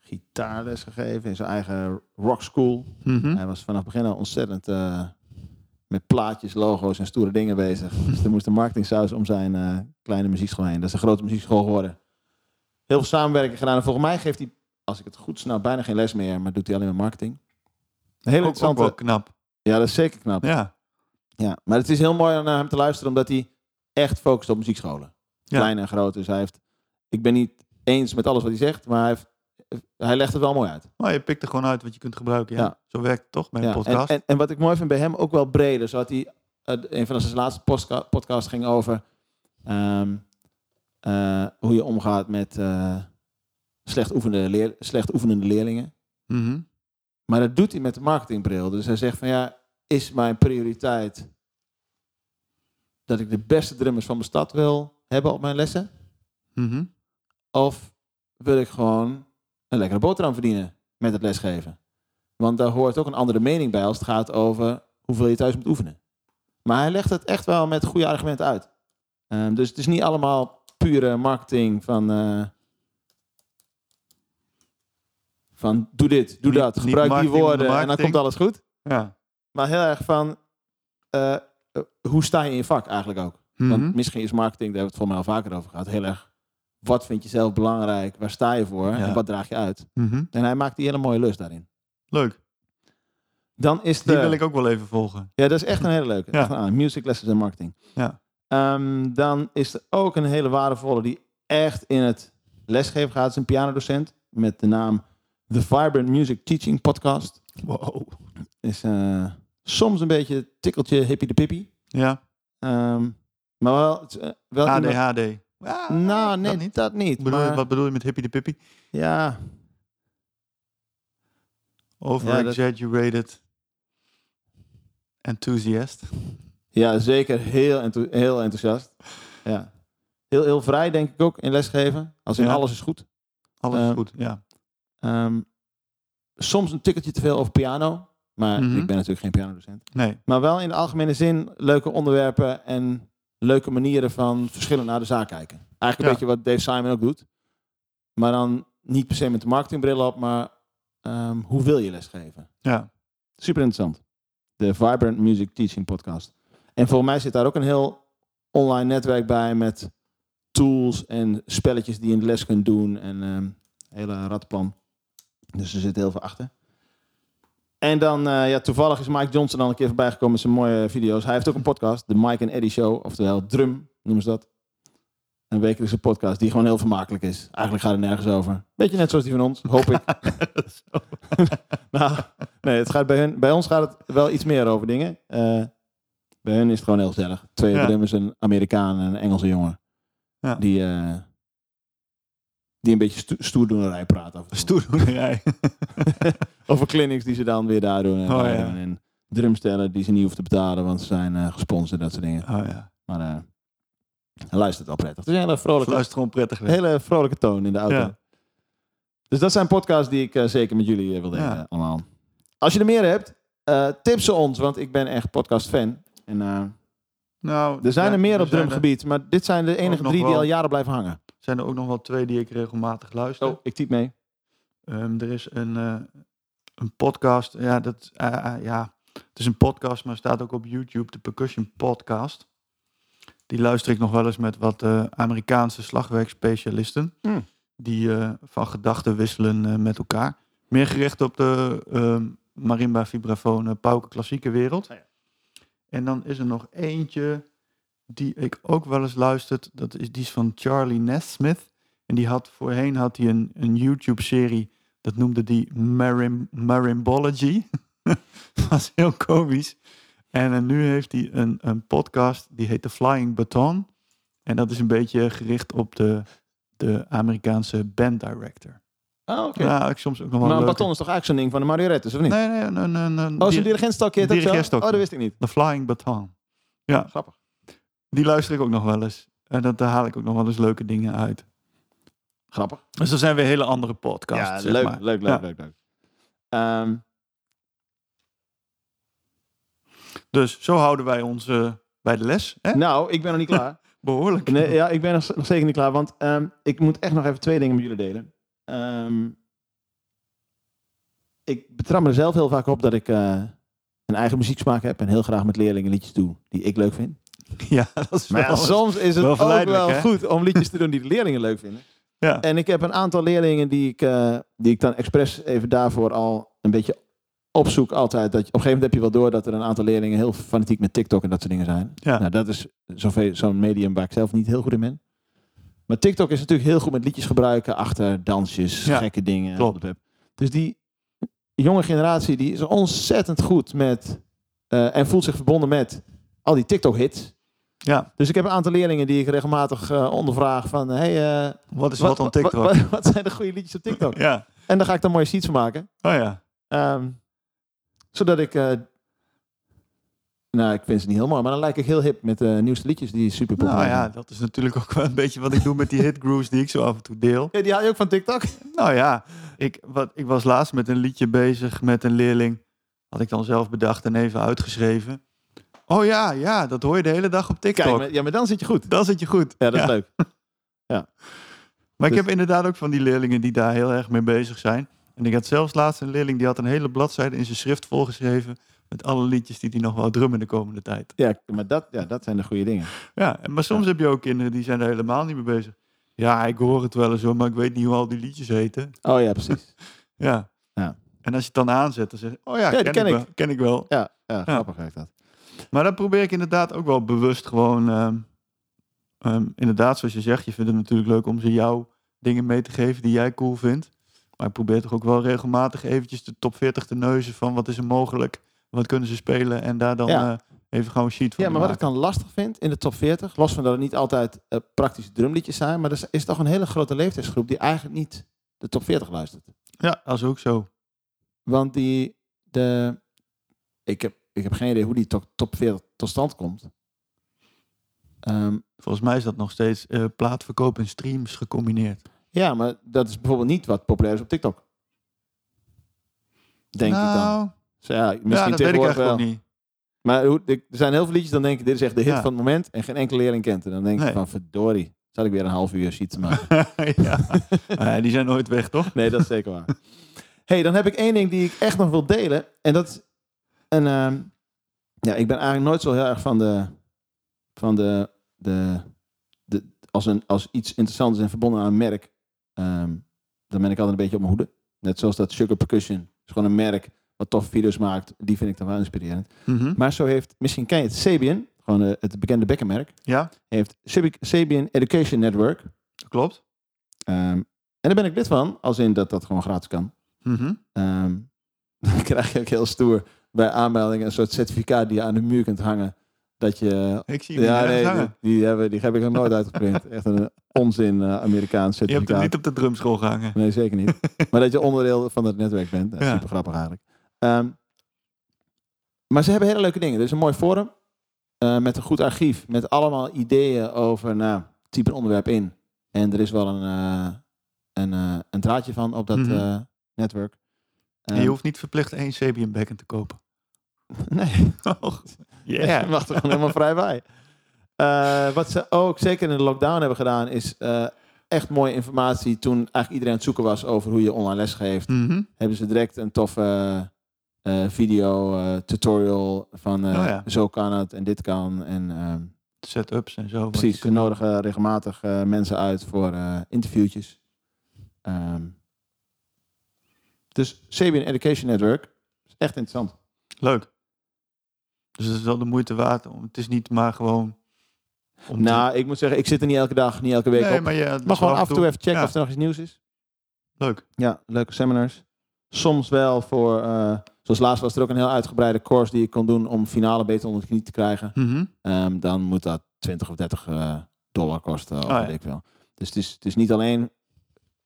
Speaker 4: gitaarles gegeven in zijn eigen rock school.
Speaker 3: Mhm.
Speaker 4: Hij was vanaf het begin al ontzettend eh, met plaatjes, logo's en stoere dingen bezig.
Speaker 3: Hm.
Speaker 4: dus er moest een marketingsaus om zijn eh, kleine muziekschool heen. Dat is een grote muziekschool geworden. Heel veel samenwerking gedaan. En volgens mij geeft hij, als ik het goed snap, bijna geen les meer. Maar doet hij alleen maar marketing. Een hele
Speaker 3: Ook- ook, wel
Speaker 4: interessante...
Speaker 3: knap.
Speaker 4: Ja, dat is zeker knap.
Speaker 3: Ja.
Speaker 4: Ja, maar het is heel mooi om naar hem te luisteren, omdat hij echt focust op muziekscholen.
Speaker 3: Ja.
Speaker 4: Klein en groot. Dus hij heeft. Ik ben niet eens met alles wat hij zegt, maar hij, heeft, hij legt het wel mooi uit.
Speaker 3: Maar Oh, je pikt er gewoon uit wat je kunt gebruiken. Ja.
Speaker 4: Ja.
Speaker 3: Zo werkt het toch bij een
Speaker 4: Ja. En,
Speaker 3: podcast.
Speaker 4: en, en wat ik mooi vind bij hem ook wel breder. Zo had hij. eh, een van zijn laatste postka- podcasts ging over. ehm, eh, hoe je omgaat met eh, slecht, oefende leer, slecht oefenende leerlingen.
Speaker 3: Mhm.
Speaker 4: Maar dat doet hij met de marketingbril. Dus hij zegt van ja, is mijn prioriteit dat ik de beste drummers van mijn stad wil hebben op mijn lessen?
Speaker 3: Mhm.
Speaker 4: Of wil ik gewoon een lekkere boterham verdienen met het lesgeven? Want daar hoort ook een andere mening bij als het gaat over hoeveel je thuis moet oefenen. Maar hij legt het echt wel met goede argumenten uit. Ehm, dus het is niet allemaal pure marketing van, eh, van doe dit, doe
Speaker 3: Niet-
Speaker 4: dat,
Speaker 3: niet
Speaker 4: gebruik die
Speaker 3: marketing om de
Speaker 4: woorden en dan
Speaker 3: marketing.
Speaker 4: komt alles goed.
Speaker 3: Ja.
Speaker 4: Maar heel erg van, eh, eh, hoe sta je in je vak eigenlijk ook?
Speaker 3: Mhm.
Speaker 4: Want misschien is marketing, daar hebben we het voor mij al vaker over gehad, heel erg, wat vind je zelf belangrijk, waar sta je voor
Speaker 3: Ja.
Speaker 4: en wat draag je uit?
Speaker 3: Mhm.
Speaker 4: En hij maakt die hele mooie lust daarin.
Speaker 3: Leuk.
Speaker 4: Dan is de...
Speaker 3: Die wil ik ook wel even volgen.
Speaker 4: Ja, dat is echt een hele leuke.
Speaker 3: Ja.
Speaker 4: Echt een aan. music lessons en marketing.
Speaker 3: Ja.
Speaker 4: Ehm, dan is er ook een hele waardevolle die echt in het lesgeven gaat. Het is een pianodocent met de naam The Vibrant Music Teaching Podcast.
Speaker 3: Wow.
Speaker 4: Is eh, soms een beetje het tikkeltje hippie de pippie.
Speaker 3: Ja.
Speaker 4: Ehm, maar wel, het is, eh, wel iemand-
Speaker 3: ADHD.
Speaker 4: Nou, nee, dat
Speaker 3: Ah, dat niet.
Speaker 4: niet. Dat niet
Speaker 3: Bedoel je-
Speaker 4: maar,
Speaker 3: Wat bedoel je met hippie de pippie?
Speaker 4: ja,
Speaker 3: Over-exaggerated enthusiast.
Speaker 4: ja, zeker heel, entho- heel enthousiast. Ja. Heel, heel vrij, denk ik ook, in lesgeven. Als in
Speaker 3: Ja.
Speaker 4: alles is goed.
Speaker 3: Alles
Speaker 4: Eh,
Speaker 3: is goed, ja.
Speaker 4: Ehm, soms een tikkeltje te veel over piano. Maar
Speaker 3: Mhm.
Speaker 4: ik ben natuurlijk geen pianodocent.
Speaker 3: Nee.
Speaker 4: Maar wel in de algemene zin leuke onderwerpen en leuke manieren van verschillen naar de zaak kijken. Eigenlijk een
Speaker 3: Ja.
Speaker 4: beetje wat Dave Simon ook doet. Maar dan niet per se met de marketingbril op, maar ehm, hoe wil je lesgeven?
Speaker 3: Ja.
Speaker 4: Super interessant. De Vibrant Music Teaching Podcast. En volgens mij zit daar ook een heel online netwerk bij met tools en spelletjes die je in de les kunt doen en ehm hele ratplan. Dus er zit heel veel achter. En dan, eh, ja, toevallig is Mike Johnson al een keer voorbij gekomen met zijn mooie video's. Hij heeft ook een podcast, de Mike en Eddie Show, oftewel Drum noemen ze dat. Een wekelijkse podcast die gewoon heel vermakelijk is. Eigenlijk gaat het nergens over. Beetje net zoals die van ons, hoop ik. nou, nee, het gaat bij, hun, bij ons gaat het wel iets meer over dingen. Eh, bij hun is het gewoon heel gezellig. Twee
Speaker 3: Ja.
Speaker 4: drummers, een Amerikaan en een Engelse jongen.
Speaker 3: Ja.
Speaker 4: Die, eh, die een beetje sto stoerdoenerij praat. af en toe.
Speaker 3: Stoerdoenerij.
Speaker 4: Over clinics die ze dan weer daar doen. En,
Speaker 3: Oh,
Speaker 4: daar
Speaker 3: ja.
Speaker 4: doen. en drumstellen die ze niet hoeven te betalen, want ze zijn eh, gesponsord en dat soort dingen.
Speaker 3: Oh ja.
Speaker 4: Maar eh, hij luistert wel prettig. Het is een hele vrolijke,
Speaker 3: Luister gewoon prettig weg.
Speaker 4: hele vrolijke toon in de auto.
Speaker 3: Ja.
Speaker 4: Dus dat zijn podcasts die ik eh, zeker met jullie eh, wil delen
Speaker 3: Ja.
Speaker 4: eh, allemaal. Als je er meer hebt, eh, tip ze ons, want ik ben echt podcast fan. En, eh,
Speaker 3: Nou,
Speaker 4: er zijn er meer op
Speaker 3: zijn er-
Speaker 4: drumgebied, maar dit zijn de enige
Speaker 3: nog
Speaker 4: drie die
Speaker 3: wel.
Speaker 4: al jaren blijven hangen.
Speaker 3: zijn er ook nog wel twee die ik regelmatig luister.
Speaker 4: Oh, ik typ mee.
Speaker 3: Ehm, er is een, eh, een podcast. Ja, dat, eh, eh, ja, het is een podcast, maar staat ook op YouTube. De Percussion Podcast. Die luister ik nog wel eens met wat eh, Amerikaanse slagwerkspecialisten.
Speaker 4: Hmm.
Speaker 3: Die eh, van gedachten wisselen eh, met elkaar. Meer gericht op de ehm, marimba, vibrafoon, eh, pauken, klassieke wereld.
Speaker 4: Ah, ja.
Speaker 3: En dan is er nog eentje die ik ook wel eens luistert. Dat is, die is van Charlie Nesmith. En die had voorheen had hij een, een YouTube-serie. Dat noemde die Marim, Marimbology. dat was heel komisch. En, eh, nu heeft hij een, een podcast. Die heet The Flying Baton. En dat is een beetje gericht op de, de Amerikaanse band director.
Speaker 4: Oh, oké.
Speaker 3: Ja, ik soms ook nog wel
Speaker 4: maar een
Speaker 3: leuker.
Speaker 4: baton is toch eigenlijk zo'n ding van de marionettes, of niet?
Speaker 3: Nee, nee, nee. nee, nee,
Speaker 4: Oh, zo'n
Speaker 3: die-
Speaker 4: dirigentstokje heet dat zo?
Speaker 3: dirigentstokje.
Speaker 4: Oh, dat wist ik niet.
Speaker 3: The Flying Baton. Ja.
Speaker 4: Grappig.
Speaker 3: Die luister ik ook nog wel eens. En dat, daar haal ik ook nog wel eens leuke dingen uit.
Speaker 4: Grappig.
Speaker 3: Dus dat zijn weer hele andere podcasts.
Speaker 4: Ja,
Speaker 3: zeg
Speaker 4: leuk,
Speaker 3: maar.
Speaker 4: leuk, leuk,
Speaker 3: Ja.
Speaker 4: leuk, leuk. Ehm,
Speaker 3: Dus zo houden wij ons eh, bij de les. Hè?
Speaker 4: nou, ik ben nog niet klaar.
Speaker 3: Behoorlijk.
Speaker 4: Nee, ja, ik ben nog, nog zeker niet klaar, want ehm, ik moet echt nog even twee dingen met jullie delen. Ehm, ik betrap mezelf heel vaak op dat ik eh, een eigen muzieksmaak heb en heel graag met leerlingen liedjes doe die ik leuk vind.
Speaker 3: Ja, dat is
Speaker 4: Maar ja,
Speaker 3: wel
Speaker 4: soms is het
Speaker 3: wel
Speaker 4: ook
Speaker 3: verleidelijk,
Speaker 4: wel
Speaker 3: hè?
Speaker 4: goed om liedjes te doen die de leerlingen leuk vinden.
Speaker 3: Ja.
Speaker 4: En ik heb een aantal leerlingen die ik, eh, die ik dan expres even daarvoor al een beetje opzoek altijd. Dat je, op een gegeven moment heb je wel door dat er een aantal leerlingen heel fanatiek met TikTok en dat soort dingen zijn.
Speaker 3: Ja.
Speaker 4: Nou, dat is zoveel- zo'n medium waar ik zelf niet heel goed in ben. Maar TikTok is natuurlijk heel goed met liedjes gebruiken achter dansjes,
Speaker 3: Ja,
Speaker 4: gekke dingen.
Speaker 3: klopt.
Speaker 4: op de web. Dus die jonge generatie die is ontzettend goed met eh, en voelt zich verbonden met al die TikTok-hits.
Speaker 3: Ja.
Speaker 4: Dus ik heb een aantal leerlingen die ik regelmatig eh, ondervraag van... Hey, eh,
Speaker 3: Wat is wat, dan TikTok?
Speaker 4: Wat, wat- wat zijn de goede liedjes op TikTok?
Speaker 3: Ja.
Speaker 4: En daar ga ik dan mooie sheets van maken.
Speaker 3: Oh ja.
Speaker 4: Ehm, zodat ik... eh, nou, ik vind ze niet heel mooi, maar dan lijk ik heel hip met de nieuwste liedjes die super populair
Speaker 3: Nou ja,
Speaker 4: zijn.
Speaker 3: dat is natuurlijk ook wel een beetje wat ik doe met die hitgrooves die ik zo af en toe deel.
Speaker 4: Ja, die haal je ook van TikTok?
Speaker 3: Nou ja, ik, wat, ik was laatst met een liedje bezig met een leerling. Had ik dan zelf bedacht en even uitgeschreven. Oh ja, ja, dat hoor je de hele dag op TikTok.
Speaker 4: Kijk, maar, ja, maar dan zit je goed.
Speaker 3: Dan zit je goed.
Speaker 4: Ja, dat is
Speaker 3: Ja.
Speaker 4: leuk.
Speaker 3: Maar ik
Speaker 4: Dus-
Speaker 3: heb inderdaad ook van die leerlingen die daar heel erg mee bezig zijn. En ik had zelfs laatst een leerling die had een hele bladzijde in zijn schrift volgeschreven. Met alle liedjes die hij nog wou drummen de komende tijd.
Speaker 4: Ja, maar dat, ja, dat zijn de goede dingen.
Speaker 3: Ja, en- maar soms heb je ook kinderen die zijn er helemaal niet mee bezig. Ja, ik hoor het wel eens hoor, maar ik weet niet hoe al die liedjes heten.
Speaker 4: Oh ja, precies.
Speaker 3: Ja.
Speaker 4: Ja.
Speaker 3: En als je het dan aanzet, dan zeg je, oh ja,
Speaker 4: die
Speaker 3: ken,
Speaker 4: ken
Speaker 3: ik
Speaker 4: ik.
Speaker 3: wel. Ken ik wel.
Speaker 4: Ja, ja grappig werkt dat.
Speaker 3: Maar dan probeer ik inderdaad ook wel bewust gewoon... ehm, ehm, inderdaad, zoals je zegt, je vindt het natuurlijk leuk om ze jou dingen mee te geven die jij cool vindt. Maar ik probeer toch ook wel regelmatig eventjes de top 40 te neuzen van wat is er mogelijk, wat kunnen ze spelen en daar dan
Speaker 4: Ja.
Speaker 3: eh, even gewoon een sheet van
Speaker 4: Ja, maar wat ik
Speaker 3: maken.
Speaker 4: dan lastig vind in de top 40, los van dat het niet altijd eh, praktische drumliedjes zijn, maar er is- is toch een hele grote leeftijdsgroep die eigenlijk niet de top 40 luistert.
Speaker 3: Ja, dat is ook zo.
Speaker 4: Want die, de, ik, heb, ik heb geen idee hoe die top, top 40 tot stand komt. Ehm,
Speaker 3: Volgens mij is dat nog steeds eh, plaatverkoop en streams gecombineerd.
Speaker 4: ja, maar dat is bijvoorbeeld niet wat populair is op TikTok. Denk ik dan.
Speaker 3: Nou,
Speaker 4: Dus ja, misschien
Speaker 3: ja, dat weet ik
Speaker 4: tegenwoordig
Speaker 3: eigenlijk
Speaker 4: wel.
Speaker 3: ook niet.
Speaker 4: Maar hoe, ik- er zijn heel veel liedjes, dan denk ik, dit is echt de hit
Speaker 3: Ja.
Speaker 4: van het moment. En geen enkele leerling kent. En dan denk
Speaker 3: Nee.
Speaker 4: ik van, verdorie, zat ik weer een half uur sheet te maken.
Speaker 3: ja. Eh, die zijn nooit weg, toch?
Speaker 4: nee, dat is zeker waar. hey, dan heb ik één ding die ik echt nog wil delen. En dat is, en, ehm, ja, ik ben eigenlijk nooit zo heel erg van de, van de, de, de als, een, als iets interessants en verbonden aan een merk, ehm, dan ben ik altijd een beetje op mijn hoede. Net zoals dat Sugar Percussion, is gewoon een merk wat toffe video's maakt. Die vind ik dan wel inspirerend.
Speaker 3: Mhm.
Speaker 4: Maar zo heeft, misschien ken je het, Sabian, gewoon eh, het bekende bekkenmerk,
Speaker 3: Ja,
Speaker 4: heeft Sabi- Sabian Education Network.
Speaker 3: dat klopt.
Speaker 4: Ehm, en daar ben ik lid van, als in dat dat gewoon gratis kan.
Speaker 3: Mhm.
Speaker 4: Ehm, dan krijg je ook heel stoer bij aanmelding een soort certificaat die je aan de muur kunt hangen. Dat je...
Speaker 3: Ik zie hem
Speaker 4: Ja,
Speaker 3: niet ergens
Speaker 4: nee, die,
Speaker 3: hangen.
Speaker 4: die hebben, die heb ik nog nooit uitgeprint. Echt een onzin eh, Amerikaans
Speaker 3: Je hebt hem
Speaker 4: certificaat.
Speaker 3: niet op de drumschool gehangen.
Speaker 4: Nee, zeker niet. eh, maar dat je onderdeel van het netwerk bent. Dat is
Speaker 3: Ja.
Speaker 4: super grappig eigenlijk. Ehm, Maar ze hebben hele leuke dingen. Er is een mooi forum eh, met een goed archief. Met allemaal ideeën over, nou, type een onderwerp in. En er is wel een, eh, een, eh, een draadje van op dat
Speaker 3: Mhm.
Speaker 4: eh, netwerk.
Speaker 3: En
Speaker 4: Ehm,
Speaker 3: je hoeft niet verplicht één Sabian bekken te kopen.
Speaker 4: Nee,
Speaker 3: Ja.
Speaker 4: je mag er gewoon helemaal vrij bij. Eh, wat ze ook zeker in de lockdown hebben gedaan, is eh, echt mooie informatie. Toen eigenlijk iedereen aan het zoeken was over hoe je online les geeft.
Speaker 3: Mhm.
Speaker 4: hebben ze direct een toffe eh, eh, video eh, tutorial van eh,
Speaker 3: Oh ja.
Speaker 4: zo kan het en dit kan. En ehm,
Speaker 3: Setups en zo.
Speaker 4: precies, ze nodigen regelmatig eh, mensen uit voor eh, interviewtjes. Ehm, dus Sabian Education Network is echt interessant.
Speaker 3: Leuk. Dus het is wel de moeite waard. Om, het is niet maar gewoon... Om te-
Speaker 4: Nou, ik moet zeggen, ik zit er niet elke dag, niet elke week
Speaker 3: nee,
Speaker 4: op.
Speaker 3: maar ja, het
Speaker 4: Maar
Speaker 3: is wel
Speaker 4: gewoon af en toe even checken
Speaker 3: ja.
Speaker 4: of er nog iets nieuws is.
Speaker 3: Leuk.
Speaker 4: Ja, leuke seminars. Soms wel voor, eh, zoals laatst was er ook een heel uitgebreide course die ik kon doen om finale beter onder de knie te krijgen.
Speaker 3: Mhm.
Speaker 4: Ehm, dan moet dat 20 of 30 eh, dollar kosten. Of
Speaker 3: Oh, ja.
Speaker 4: weet ik wel. Dus het is, het is niet alleen.
Speaker 3: Nee,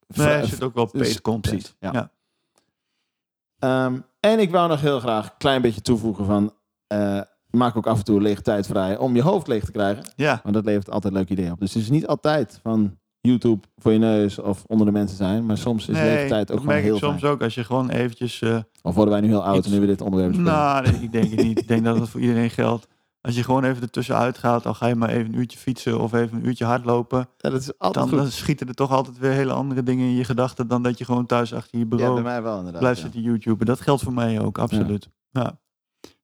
Speaker 4: vra-
Speaker 3: er zit ook wel
Speaker 4: dus-
Speaker 3: paid content.
Speaker 4: precies, ja.
Speaker 3: ja.
Speaker 4: Ehm, en ik wou nog heel graag een klein beetje toevoegen van. eh, maak ook af en toe leeg tijd vrij om je hoofd leeg te krijgen.
Speaker 3: Ja,
Speaker 4: Want dat levert altijd leuke ideeën op. Dus het is niet altijd van YouTube voor je neus of onder de mensen zijn. Maar soms is
Speaker 3: nee,
Speaker 4: lege tijd Dus ook
Speaker 3: dat
Speaker 4: gewoon
Speaker 3: merk ik
Speaker 4: heel
Speaker 3: soms
Speaker 4: fijn.
Speaker 3: ook. Als je gewoon eventjes... eh,
Speaker 4: Of worden wij nu heel oud
Speaker 3: Iets-
Speaker 4: en nu we dit onderwerp bespreken?
Speaker 3: nou, nee, ik denk het niet. Ik denk dat dat voor iedereen geldt. Als je gewoon even ertussenuit gaat, al ga je maar even een uurtje fietsen of even een uurtje hardlopen.
Speaker 4: Ja, dat is altijd
Speaker 3: Dan,
Speaker 4: goed.
Speaker 3: dan schieten er toch altijd weer hele andere dingen in je gedachten dan dat je gewoon thuis achter je
Speaker 4: ja,
Speaker 3: bureau
Speaker 4: bij mij wel inderdaad.
Speaker 3: blijft
Speaker 4: ja.
Speaker 3: zitten YouTuber. Dat geldt voor mij ook, absoluut. Ja.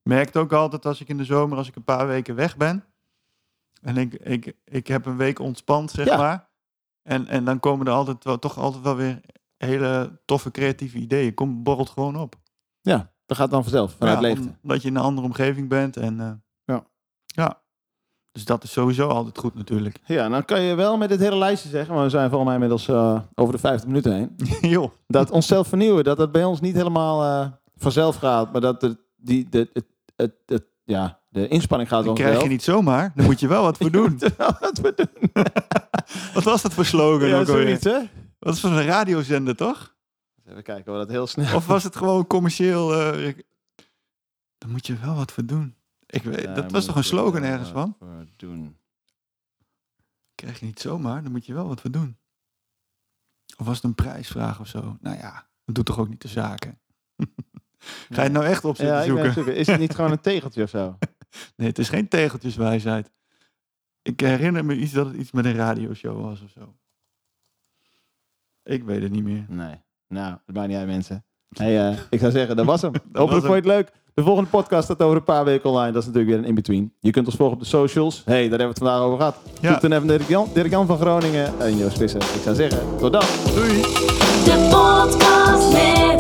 Speaker 3: Merkt ook altijd als ik in de zomer, als ik een paar weken weg ben. En ik, ik, ik heb een week ontspant, zeg
Speaker 4: Ja.
Speaker 3: maar. En, en dan komen er altijd wel, toch altijd wel weer hele toffe creatieve ideeën. Kom, borrelt gewoon op.
Speaker 4: Ja, dat gaat dan vanzelf, vanuit
Speaker 3: Ja,
Speaker 4: leegte.
Speaker 3: Omdat je in een andere omgeving bent. En, eh,
Speaker 4: Ja.
Speaker 3: ja. Dus dat is sowieso altijd goed natuurlijk.
Speaker 4: Ja, dan kan je wel met dit hele lijstje zeggen, maar we zijn volgens mij inmiddels eh, over de 50 minuten heen.
Speaker 3: Joh.
Speaker 4: Dat onszelf vernieuwen, dat dat bij ons niet helemaal eh, vanzelf gaat, maar dat de, die, de, het, het, het- ja, de inspanning gaat
Speaker 3: Dat
Speaker 4: wel
Speaker 3: krijg je niet zomaar. Daar moet je wel wat voor doen.
Speaker 4: Wat we doen.
Speaker 3: Wat was dat voor slogan
Speaker 4: Ja,
Speaker 3: ook alweer?
Speaker 4: zoiets, hè?
Speaker 3: Dat is van een radiozender, toch?
Speaker 4: Even kijken hoor, dat heel snel.
Speaker 3: Of was het gewoon commercieel? eh, ik- Daar moet je wel wat voor doen. Ik weet, dat
Speaker 4: Eh,
Speaker 3: was toch een slogan ergens van?
Speaker 4: Doen.
Speaker 3: Krijg je niet zomaar, daar moet je wel wat voor doen. Of was het een prijsvraag of zo? Nou ja, dat doet toch ook niet de zaken? Ga je het nou echt op zitten
Speaker 4: Ja, ik ben aan
Speaker 3: zoeken?
Speaker 4: het zoeken. Is het niet gewoon een tegeltje of zo?
Speaker 3: Nee, het is geen tegeltjeswijsheid. Ik herinner me iets dat het iets met een radioshow was of zo. Ik weet het niet meer.
Speaker 4: Nee. Nou, dat maakt niet uit, mensen. Hey, eh, ik zou zeggen, dat was hem.
Speaker 3: was hem.
Speaker 4: Hopelijk vond je het leuk. De volgende podcast staat over een paar weken online. Dat is natuurlijk weer een in-between. Je kunt ons volgen op de socials. hey, daar hebben we het vandaag over gehad.
Speaker 3: Ja.
Speaker 4: Ja. Toen even Dirk Jan, Dirk Jan van Groningen en Joost Visser. Ik zou zeggen, tot dan.
Speaker 3: Doei!
Speaker 2: De podcast met